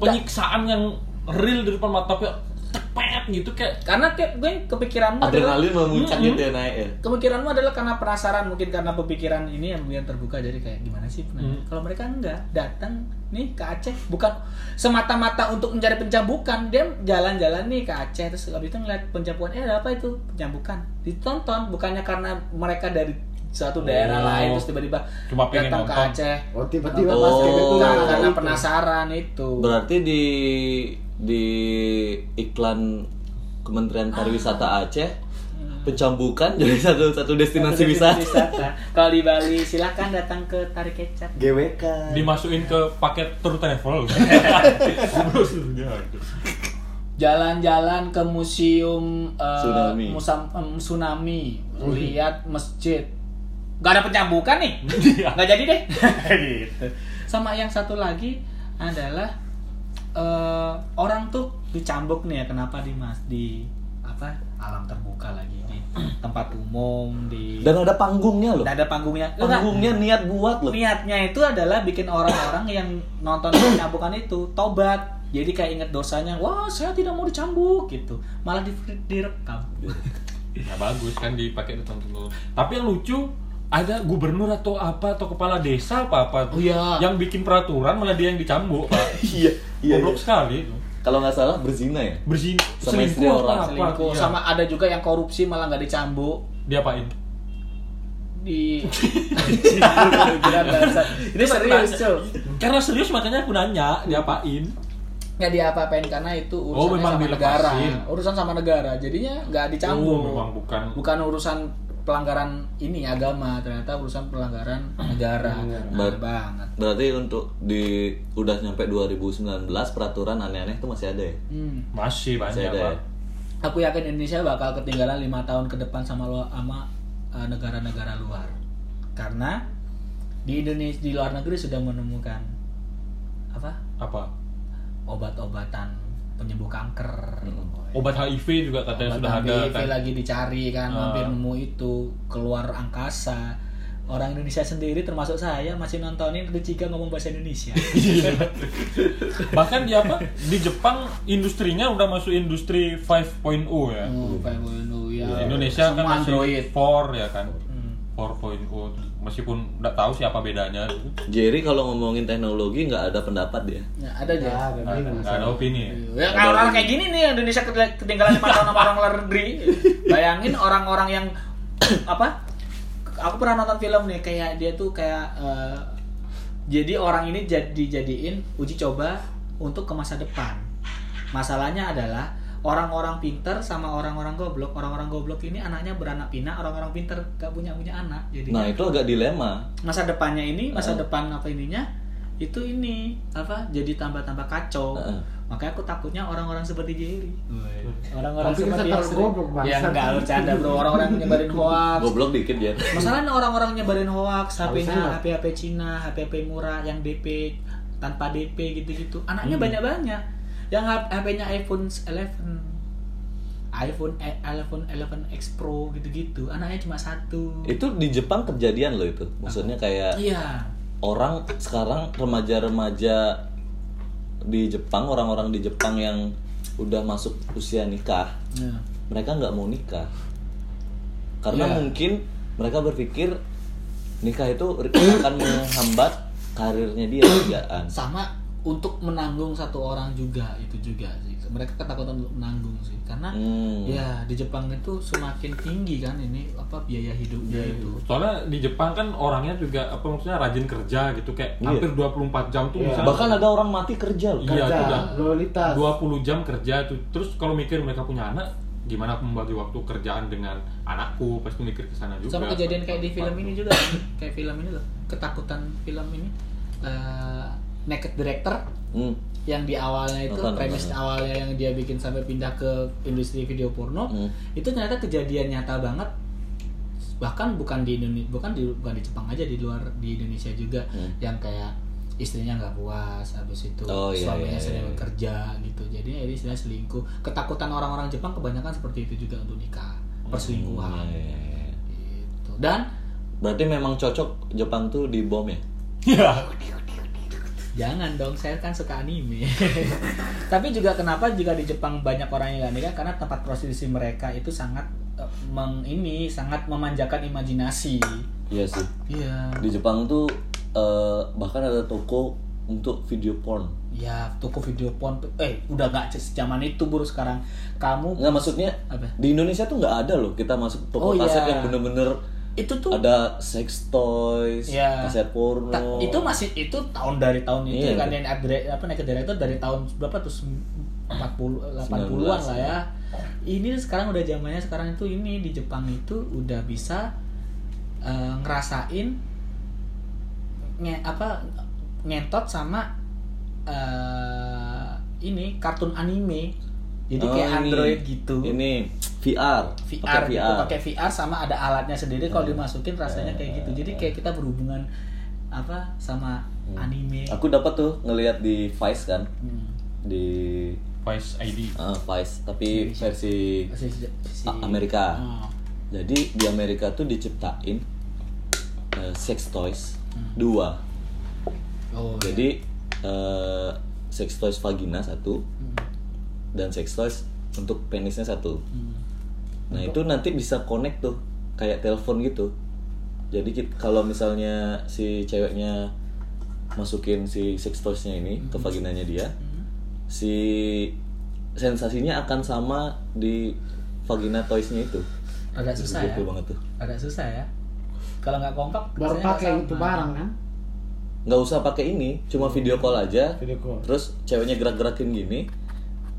penyiksaan yang real di depan mata kayak tepet gitu kayak Karena tiap gue kepikiranmu adalah Adrenalin memuncak Mm-mm. gitu ya naik ya. kepikiranmu adalah karena penasaran mungkin karena pemikiran ini yang mungkin terbuka jadi kayak gimana sih sebenarnya? Hmm. Kalau mereka enggak datang nih ke Aceh bukan semata-mata untuk mencari pencabukan dia jalan-jalan nih ke Aceh terus habis itu ngeliat pencabukan eh ada apa itu pencabukan ditonton bukannya karena mereka dari suatu daerah Oh. lain terus tiba-tiba Cuma pengen datang nonton. ke Aceh Oh tiba-tiba Oh. pas kayak gitu. Bukan, karena Itu. penasaran itu Berarti di di iklan Kementerian Pariwisata Aceh pencambukan jadi satu satu destinasi wisata. kalau di Bali silahkan datang ke Tari Kecap GWK. dimasukin ke paket tour travel. Terus ya. jalan-jalan ke museum eh, Tsunami. Hmm. musam- em, tsunami lihat masjid gak ada pencambukan nih Iya. nggak jadi deh Gitu. sama yang satu lagi adalah eh, orang tuh dicambuk nih ya kenapa di mas di apa alam terbuka lagi di tempat umum di Dan ada panggungnya loh. Dan ada panggungnya Lu nggak- Panggungnya niat buat loh. niatnya itu adalah bikin orang-orang yang nonton pencambukan itu tobat jadi kayak inget dosanya wah saya tidak mau dicambuk gitu malah di direkam Nah bagus kan dipakai di teman-teman. Tapi yang lucu ada gubernur atau apa atau kepala desa apa apa tuh Oh, iya. yang bikin peraturan malah dia yang dicambuk pak Iya goblok sekali itu Kalau nggak salah berzina ya. bersin Sama istri selingkuh orang. apa, apa, selingkuh iya. sama ada juga yang korupsi malah nggak dicambuk diapain di Gila, dasar. ini serius cuy karena serius makanya aku nanya diapain nggak diapa-apain karena itu Oh, urusan memang sama negara dilepasin. urusan sama negara jadinya nggak dicambuk Oh, memang bukan. bukan urusan pelanggaran ini agama ternyata urusan pelanggaran negara benar Ber- banget Berarti untuk di udah nyampe 2019 peraturan aneh-aneh itu masih ada ya. Hmm. masih Masih banyak ada pak ya. Aku yakin Indonesia bakal ketinggalan lima tahun ke depan sama lu- sama eh, negara-negara luar. Karena di Indonesia di luar negeri sudah menemukan apa? apa obat-obatan penyembuh kanker. obat HIV juga Obat katanya sudah ada HIV kan lagi dicari kan, Ah. hampir nemu itu keluar angkasa. Orang Indonesia sendiri termasuk saya masih nontonin Rucika ngomong bahasa Indonesia. bahkan di apa di Jepang industrinya udah masuk industri 5.0 ya Oh, Pak Bono, ya. Di Indonesia Semua kan masih Android. 4 ya kan Hmm. 4.0 meskipun nggak tahu siapa bedanya Iya, Jerry kalau ngomongin teknologi nggak ada pendapat dia. Ya, ada aja. Ya, nggak benar. nggak ada opini ya. Ya kalau orang kayak gini nih Indonesia kete- ketinggalan lima tahun sama orang luar negeri. Bayangin orang-orang yang apa? Aku pernah nonton film nih kayak dia tuh kayak eh, jadi orang ini jadi jadiin uji coba untuk ke masa depan. Masalahnya adalah orang-orang pinter sama orang-orang goblok. Orang-orang goblok ini anaknya beranak pinak, orang-orang pinter gak punya punya anak. Jadi Nah itu agak dilema. masa depannya ini masa Uh-huh. depan apa ininya itu ini apa jadi tambah-tambah kacau Heeh. makanya aku takutnya orang-orang seperti Jerry Iya. orang-orang Uh-huh. Tapi seperti kita yang sering- tergoblok, bangsa. ya enggak bercanda bro orang-orang yang nyebarin hoax Goblok dikit ya. masalahnya orang-orang nyebarin hoax Halusinat. HP-nya HP HP Cina HP HP murah yang DP tanpa DP gitu-gitu anaknya Hmm. banyak-banyak yang HP-nya iPhone 11 iPhone e- iPhone 11 X Pro gitu-gitu anaknya cuma satu Itu di Jepang kejadian loh itu. Maksudnya kayak iya orang sekarang remaja-remaja di Jepang orang-orang di Jepang yang udah masuk usia nikah Iya. mereka nggak mau nikah karena Iya. mungkin mereka berpikir nikah itu akan menghambat karirnya dia kerjaan sama untuk menanggung satu orang juga itu juga sih mereka ketakutan untuk menanggung sih karena Hmm. ya di Jepang itu semakin tinggi kan ini apa biaya hidupnya itu Soalnya di Jepang kan orangnya juga apa maksudnya rajin kerja gitu kayak Iya. hampir 24 jam tuh Iya. misalnya Bahkan ada orang mati kerja loh. Iya, Kerja, sudah. lolitas. 20 jam kerja tuh. Terus kalau mikir mereka punya anak, gimana aku membagi waktu kerjaan dengan anakku? Pasti mikir ke sana juga. sama kejadian kayak di film ini juga kayak film ini loh ketakutan film ini eh, naked director Hmm. yang di awalnya itu Nonton, premis nonton. awalnya yang dia bikin sampai pindah ke industri video porno Hmm. itu ternyata kejadian nyata banget bahkan bukan di Indonesia bukan di bukan di Jepang aja di luar di Indonesia juga Hmm. yang kayak istrinya nggak puas habis itu Oh, iya, suaminya iya, sering iya. bekerja gitu jadi jadi istrinya selingkuh ketakutan orang-orang Jepang kebanyakan seperti itu juga untuk nikah perselingkuhan Hmm, iya, iya, iya. gitu dan Berarti memang cocok Jepang tuh di bom ya? Jangan dong, saya kan suka anime. Tapi juga kenapa juga di Jepang banyak orang yang gak nikah karena tempat prostitusi mereka itu sangat eh, meng ini sangat memanjakan imajinasi. Iya sih. Iya. Di Jepang tuh eh, bahkan ada toko untuk video porn. Ya, toko video porn tuh- eh udah gak c- zaman itu buru sekarang. Kamu Nggak maksudnya Apa? di Indonesia tuh nggak ada loh kita masuk toko Oh, iya. kaset yang bener-bener itu tuh ada sex toys, Iya. kaset porno. ta- itu masih itu tahun dari tahun itu Oh. Iya. kan yang adre- apa naik itu dari tahun berapa tuh Sem- 40 80-an lah ya. Ini iya. sekarang udah zamannya sekarang itu ini di Jepang itu udah bisa eh, ngerasain nge apa ngentot sama eh, ini kartun anime. Jadi Oh, kayak ini. Android gitu. Ini VR, VR, pakai Iya. gitu, VR. pakai VR sama ada alatnya sendiri kalau dimasukin rasanya Iya. kayak gitu jadi kayak kita berhubungan apa sama Hmm. anime Aku dapat tuh ngelihat di Vice kan Hmm. di Vice ID. eh, Vice tapi versi Si- si- A- Amerika. Oh. Jadi di Amerika tuh diciptain eh, sex toys dua. oh Jadi eh, sex toys vagina satu Hmm. dan sex toys untuk penisnya satu. Hmm. Nah itu nanti bisa connect tuh kayak telepon gitu. Jadi kit- kalau misalnya si ceweknya masukin si sex toysnya ini Hmm. ke vaginanya dia, si sensasinya akan sama di vagina toysnya itu. agak susah ya Gokil banget tuh. agak susah ya kalau nggak kompak Baru rasanya pakai nggak itu sama. barang kan? nggak usah pakai ini cuma video call aja Video call. terus ceweknya gerak-gerakin gini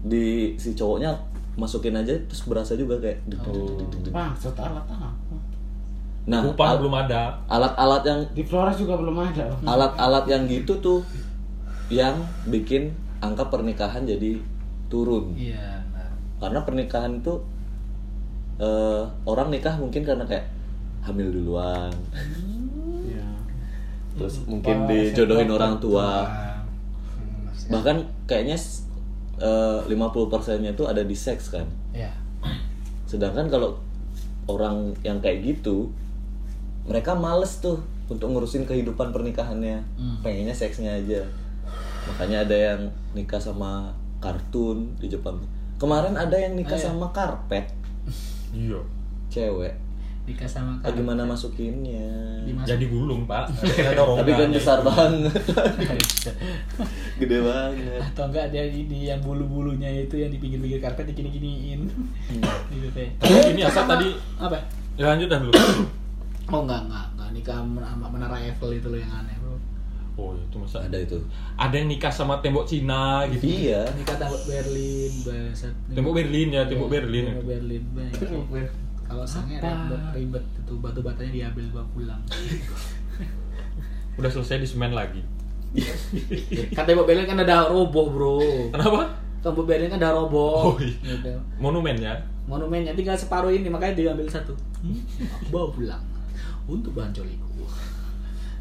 di si cowoknya masukin aja terus berasa juga kayak deg- deg- deg- deg- deg- deg. Bang, serta alat apa? nah Ah. Kupang al- belum ada. alat-alat yang Di Flores juga belum ada. Hmm. Bang. alat-alat yang gitu tuh yang bikin angka pernikahan jadi turun iya benar. karena pernikahan itu eh, orang nikah mungkin karena kayak hamil duluan Iya. terus mungkin dijodohin orang tua Hmm, maksudnya. bahkan kayaknya eh, 50 persennya tuh ada di seks kan Iya. sedangkan kalau orang yang kayak gitu mereka males tuh untuk ngurusin kehidupan pernikahannya Hmm. pengennya seksnya aja makanya ada yang nikah sama kartun di Jepang kemarin ada yang nikah Ah, iya. sama karpet Iya. cewek nikah sama Ah, gimana masukinnya Jadi gulung, Pak. Ada dorongan. tapi kan besar banget gede banget atau enggak dia ini yang bulu-bulunya itu yang di pinggir-pinggir karpet digini-giniin Hmm. gitu kayak Tapi ini asal tadi apa ya, lanjut dah dulu. Oh enggak, enggak, enggak nikah sama menara Eiffel itu loh yang aneh bro oh, itu masa ada itu ada yang nikah sama tembok Cina gitu. iya Nikah tembok Berlin, bahasa Tembok Berlin ya, tembok Berlin. Tembok Berlin, banyak. Kalau sange ribet, ribet itu batu-batanya diambil bawa pulang Udah selesai di semen lagi. Kan tembok Berlin kan ada roboh bro Kenapa? Tembok Berlin kan ada roboh Oh, iya. Gitu. Monumen ya. Monumennya tinggal separuh ini, makanya diambil satu Hmm, Bawa pulang Untuk bahan coliku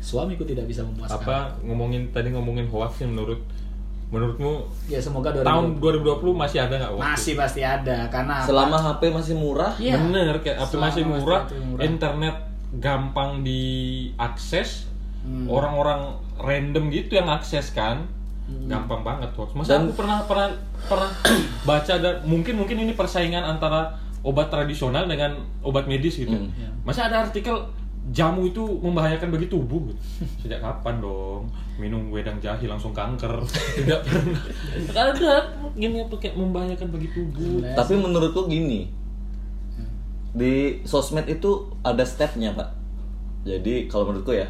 Suamiku tidak bisa memuaskan Apa ngomongin tadi ngomongin hoax yang menurut menurutmu Ya semoga 2020 tahun 2020 masih ada nggak hoax? Masih pasti ada, karena apa? selama HP masih murah Iya. Bener, kayak HP Selama masih masih murah, HP murah. internet gampang diakses, Hmm. orang-orang random gitu yang akses kan, gampang banget hoax. Masa Dan- aku pernah pernah pernah baca ada mungkin mungkin ini persaingan antara obat tradisional dengan obat medis gitu. Hmm. Masa ada artikel jamu itu membahayakan bagi tubuh gitu. sejak kapan dong minum wedang jahe langsung kanker tidak pernah ada gini apa kayak membahayakan bagi tubuh Tapi menurutku gini, di sosmed itu ada stepnya pak. Jadi kalau menurutku ya,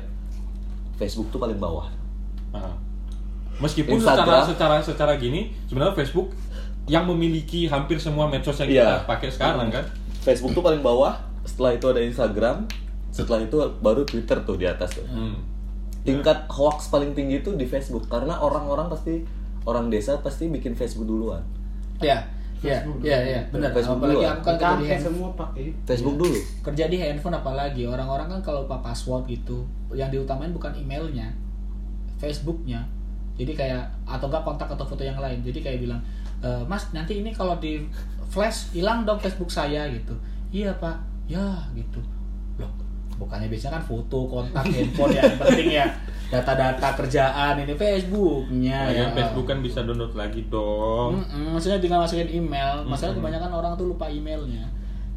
Facebook tuh paling bawah. Nah, meskipun Instagram. secara secara secara gini sebenarnya Facebook yang memiliki hampir semua medsos yang Iya. kita pakai sekarang kan Facebook tuh paling bawah. Setelah itu ada Instagram. Setelah itu baru Twitter tuh di atas tuh. Hmm. Tingkat hoax paling tinggi itu di Facebook karena orang-orang pasti orang desa pasti bikin Facebook duluan. ya ya ya ya benar Facebook apalagi dulu. aku kan kerja di Pakai handphone semua pakai. Facebook dulu. kerja di handphone apalagi orang-orang kan kalau lupa password gitu yang diutamain bukan emailnya Facebooknya jadi kayak atau enggak kontak atau foto yang lain jadi kayak bilang "E, mas nanti ini kalau di flash hilang dong Facebook saya gitu iya pak ya gitu loh bukannya biasanya kan foto kontak handphone ya, yang penting ya data-data kerjaan ini Facebooknya Iya. ya Lagian Facebook kan bisa download lagi dong Mm-mm, maksudnya tinggal masukin email masalah kebanyakan orang tuh lupa emailnya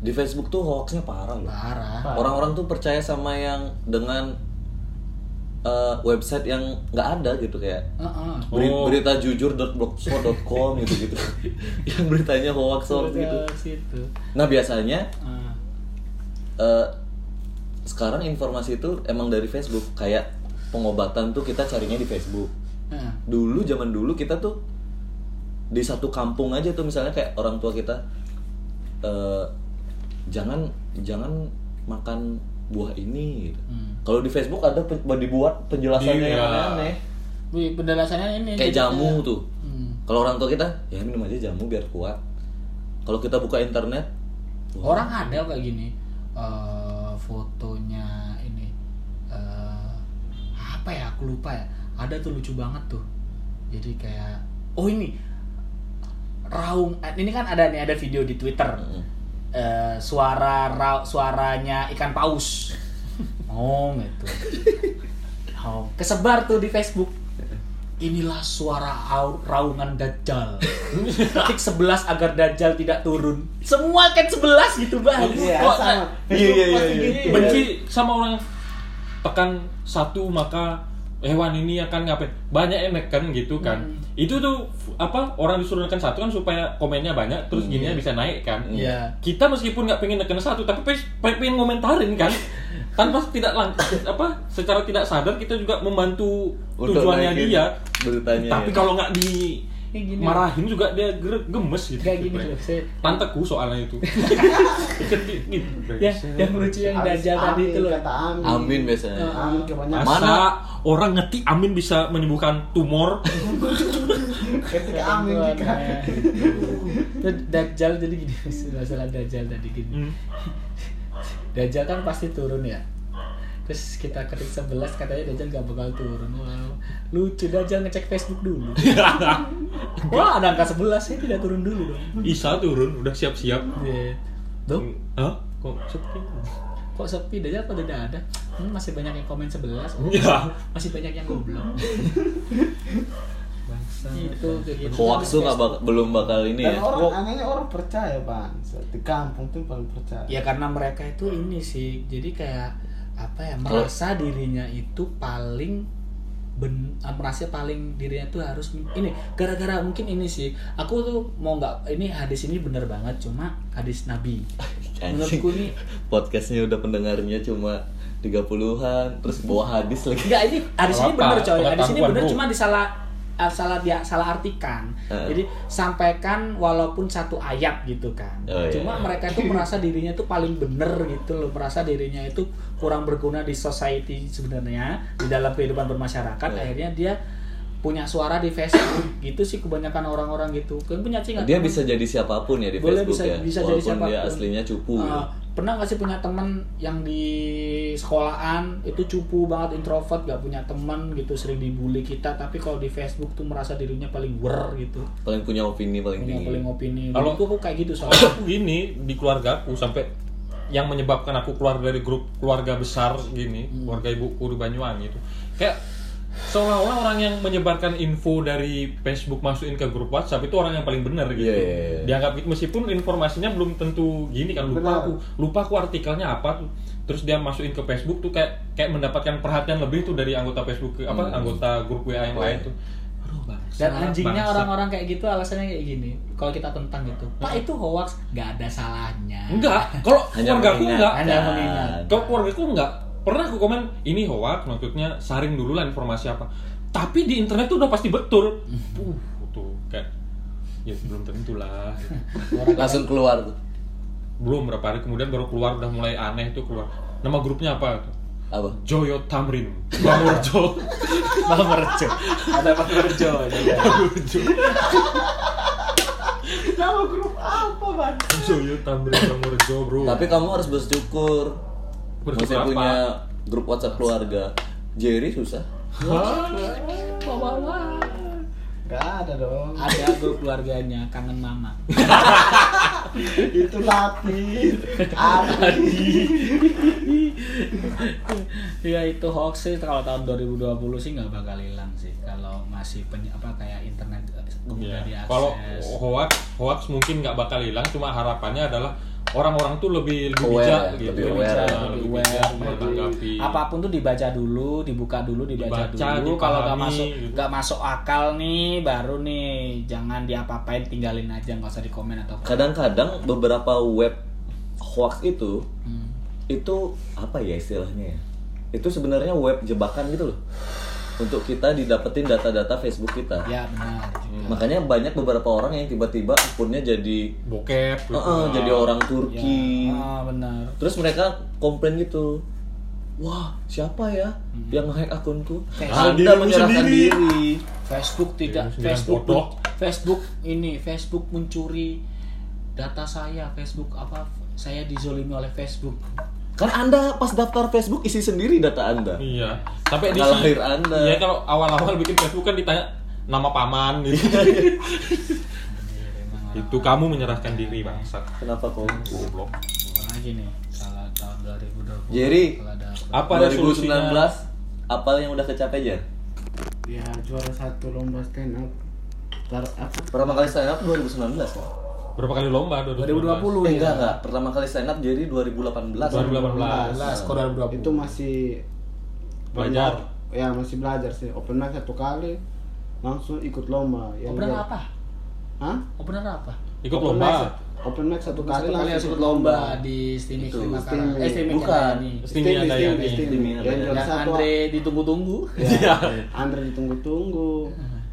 Di Facebook tuh hoaxnya parah loh. parah Orang-orang tuh percaya sama yang dengan eh, website yang nggak ada gitu kayak Heeh. Beri- Oh. berita jujur.blogspot.com gitu gitu yang beritanya hoax hoax gitu Udah, situ. nah biasanya Ah. eh, sekarang informasi itu emang dari Facebook kayak pengobatan tuh kita carinya di Facebook Nah, dulu zaman dulu kita tuh di satu kampung aja tuh misalnya kayak orang tua kita eh, jangan jangan makan buah ini gitu. Hmm. kalau di Facebook ada pe- dibuat penjelasannya Iya. yang aneh-aneh Wih, penjelasannya ini kayak jadi jamu tuh. Hmm. Kalau orang tua kita, ya minum aja jamu biar kuat. Kalau kita buka internet, wah, Gitu. Orang ada kayak gini eh, fotonya ini eh, apa ya? Aku lupa ya. Ada tuh lucu banget tuh. Jadi kayak oh ini raung eh, ini kan ada nih ada video di Twitter. Eh, suara ra- suaranya ikan paus. Oh gitu. Oh, kesebar tuh di Facebook. Inilah suara au- raungan Dajjal. Ketik 11 agar Dajjal tidak turun. Semua kan 11 gitu banget. Iya, Wah, sama. eh, iya, iya, Facebook pasti iya, gini. iya. benci sama orang yang tekan satu maka hewan ini akan ngapain banyak yang neken gitu kan Hmm. itu tuh f- apa orang disuruh neken satu kan supaya komennya banyak terus Hmm. gininya bisa naik kan Iya. kita meskipun nggak pengen neken satu tapi pe- pe- pengen ngomentarin kan tanpa tidak lang apa secara tidak sadar kita juga membantu Oh, Untuk tujuannya naikin dia beritanya, ya. tapi kalau nggak di Kayak gini. marahin juga dia gere- gemes gitu Kayak gini loh, saya- tanteku soalnya itu Gitu. Ya, yang lucu yang Habis Dajjal tadi amin, itu loh. Ah. Kata amin. amin biasanya. Amin kebanyakan. Masa Mana? orang ngetik amin bisa menyembuhkan tumor? Ketika amin jika. Itu Dajjal jadi gini masalah Dajjal tadi gini. Hmm. Dajjal kan pasti turun ya terus kita ketik 11 katanya Dajjal gak bakal turun wow lucu Dajjal ngecek Facebook dulu wah ada angka 11 saya tidak turun dulu dong Isa turun udah siap-siap. Iya. Dong, Hah? Kok sepi? kok sepi Dajjal pada tidak ada hmm, masih banyak yang komen 11 oh, Iya. Ya. masih banyak yang goblok itu kayak gitu Hoax tuh nggak bak- belum bakal ini ya. Dan orang anehnya orang percaya bang. Di kampung tuh paling percaya. ya karena mereka itu ini sih jadi kayak apa ya Kalau- merasa dirinya itu paling ben, eh, merasa paling dirinya tuh harus ini gara-gara mungkin ini sih aku tuh mau nggak ini hadis ini bener banget cuma hadis nabi Anjing. menurutku nih Podcastnya udah pendengarnya cuma 30-an, terus bawa hadis lagi. Enggak ini hadis ini Apa-apa, bener coy. Hadis ini pengetahuan, bener Bro. cuma disalah eh, salah dia salah artikan. Eh. Jadi sampaikan walaupun satu ayat gitu kan. Oh, iya, iya. cuma mereka itu merasa dirinya itu paling bener gitu loh, merasa dirinya itu kurang berguna di society sebenarnya, di dalam kehidupan bermasyarakat. Iya. Akhirnya dia punya suara di Facebook gitu sih kebanyakan orang-orang gitu. Kan punya sih nggak Dia teman? bisa jadi siapapun ya di Boleh Facebook bisa- ya. bisa jadi Walaupun dia siapapun. aslinya cupu. Uh, gitu. pernah nggak sih punya temen yang di sekolahan itu cupu banget introvert gak punya teman gitu sering dibully kita tapi kalau di Facebook tuh merasa dirinya paling wer gitu Paling punya opini paling punya tinggi. paling opini Iya. Kalau- kalau aku kayak gitu Kalau soalnya aku gini di keluarga aku sampai yang Hmm. menyebabkan aku keluar dari grup keluarga besar gini, keluarga ibuku di Banyuwangi itu. Kayak seolah-olah orang yang menyebarkan info dari Facebook masukin ke grup WhatsApp itu orang yang paling benar gitu. Iya, iya, iya. Dianggap gitu, meskipun informasinya belum tentu gini kan lupa Benar. aku, lupa aku artikelnya apa tuh. Terus dia masukin ke Facebook tuh kayak kayak mendapatkan perhatian lebih tuh dari anggota Facebook ke- apa Hmm. anggota grup WA Iya. yang lain tuh. Aduh, bangsat, Dan anjingnya bangsat. orang-orang kayak gitu alasannya kayak gini. Kalau kita tentang gitu, Pak itu hoax, gak ada salahnya. Enggak, kalau Hanya keluarga aku enggak. Hanya mengingat. Kalau keluarga aku enggak. Pernah aku komen, ini hoax, maksudnya saring dulu lah informasi apa. Tapi di internet tuh udah pasti betul. Uh, tuh kayak ya belum tentu lah. Langsung keluar tuh. belum berapa hari kemudian baru keluar udah mulai aneh tuh keluar. Nama grupnya apa? Apa? Joyo Tamrin, Bangurjo, Bang Merjo. Ada Bang Merjo. juga. Nama grup apa, Bang? Joyo Tamrin, Bangurjo bro. Tapi kamu harus bersyukur. Bersyukur Masih apa? punya grup WhatsApp keluarga. Jerry susah. Gak ada dong. Ada grup keluarganya, kangen mama. Itu Latif. Adi. Ya itu hoax sih kalau tahun 2020 sih nggak bakal hilang sih kalau masih penye- apa kayak internet eh, Iya. mudah diakses. Kalau hoax, hoax mungkin nggak bakal hilang, cuma harapannya adalah orang-orang tuh lebih lebih Aware, bijak lebih gitu, aware. bijak, Lebih lebih aware, bijak lebih- menanggapi. apapun tuh dibaca dulu, dibuka dulu, dibaca, Dibaca, dulu. Kalau nggak dipahami, masuk gitu. nggak masuk akal nih, baru nih jangan diapa-apain, tinggalin aja nggak usah dikomen atau Kadang-kadang beberapa web hoax itu Hmm. itu apa ya istilahnya ya? Itu sebenarnya web jebakan gitu loh. Untuk kita didapetin data-data Facebook kita. ya benar. juga. Makanya banyak beberapa orang yang tiba-tiba akunnya jadi bokep, gitu. "Eh, jadi orang Ya, Hmm. Turki. ah, benar. Terus mereka komplain gitu. Wah, siapa ya yang hack akunku? Kayak Anda menyerahkan diri. Facebook tidak Jadi, Facebook Iya, bodoh. Facebook ini Facebook mencuri data saya Facebook apa saya dizolimi oleh Facebook Kan Anda pas daftar Facebook isi sendiri data Anda. Iya. Sampai di Tanggal lahir Anda. Iya kalau awal-awal bikin Facebook kan ditanya nama paman gitu. Iya. Itu kamu menyerahkan diri bangsat. Kenapa kok? Goblok. Apa lagi nih kalau tahun 2020 Jerry. kalau ada Apa 2019 resolusinya? apa yang udah kecapai Jar? Ya, juara satu lomba stand up. Tar apa? Pertama kali stand up 2019. kan? Berapa kali lomba 2020 2019? Eh, ya enggak enggak. Pertama kali stand up jadi 2018. 2018. 2018 skor 2020 Itu masih Belajar. Ya, masih belajar sih. Open mic satu kali langsung ikut lomba. Yang opener dia- apa Hah? opener apa Ikut Open mic- lomba. Open mic satu kali satu kali langsung harus ikut lomba di Steam Itu, Steam Steam- eh Steam bukan. Steam Steam, ada Steam, ya, Steam. Steam. Yang Yang juara yang satu Andre ditunggu-tunggu ya, Andre ditunggu-tunggu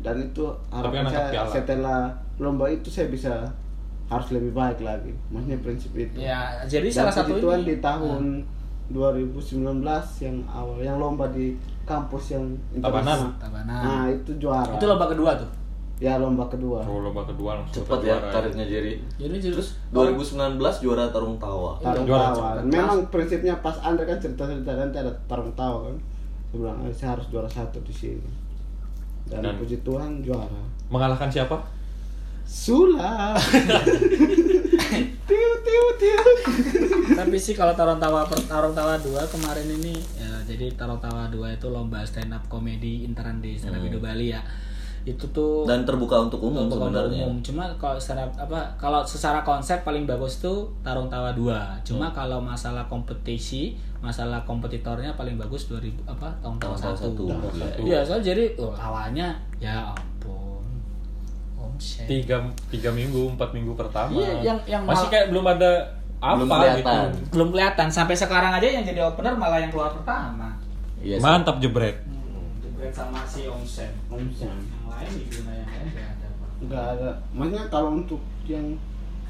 dan itu kan harapan angkat saya piala. setelah lomba itu saya bisa harus lebih baik lagi maksudnya prinsip itu ya jadi Dan salah satu puji Tuhan di ini tahun 2019 yang awal yang lomba di kampus yang internasional. Tabanan. nah itu juara itu lomba kedua tuh ya lomba kedua Oh, lomba kedua langsung Cepat dapat ya juara. karirnya Jerry. jadi Oh, Terus 2019 juara tarung tawa. tarung Juara, tawa memang prinsipnya pas Andre kan cerita cerita nanti ada tarung tawa kan saya bilang "Eh, saya harus juara satu di sini dan, Dan- puji Tuhan juara Mengalahkan siapa? Sula tiu tiu tiu tapi sih kalau tarung tawa per- tarung tawa dua kemarin ini ya, jadi tarung tawa dua itu lomba stand up komedi intern di stand up Indo Bali ya itu tuh Dan terbuka untuk umum untuk orang sebenarnya. umum cuma kalau secara apa kalau secara konsep paling bagus tuh tarung tawa dua Hmm. cuma kalau masalah kompetisi masalah kompetitornya paling bagus 2000 apa tarung Tarung tawa tawa satu. satu satu. iya soalnya jadi oh, lawannya ya ampun omset Tiga, tiga minggu, empat minggu pertama. Iya, yang- yang masih mal- kayak belum ada apa Belum kelihatan. gitu. belum kelihatan sampai sekarang aja yang jadi opener malah yang keluar pertama Iya. sih. Mantap jebret. Jebret Hmm, sama si Omsen. Yang lain diguna yang lain nggak ada. Pak. nggak ada maksudnya kalau untuk yang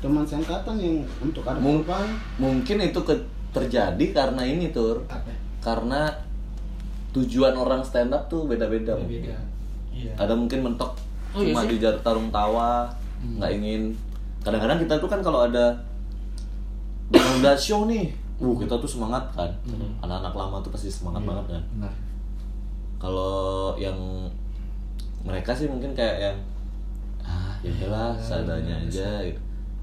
teman seangkatan yang untuk ada Mung- perubahan Mungkin itu ke- terjadi karena ini tur. Apa? Karena tujuan orang stand up tuh beda-beda. mungkin. Beda. Iya. ada mungkin mentok Oh, iya cuma sih. di jar tarung tawa nggak ingin kadang-kadang kita tuh kan kalau ada bakal ada show nih uh kita tuh semangat kan anak-anak lama tuh pasti semangat banget kan Benar. kalau yang mereka sih mungkin kayak yang ah ya udahlah seadanya aja gitu.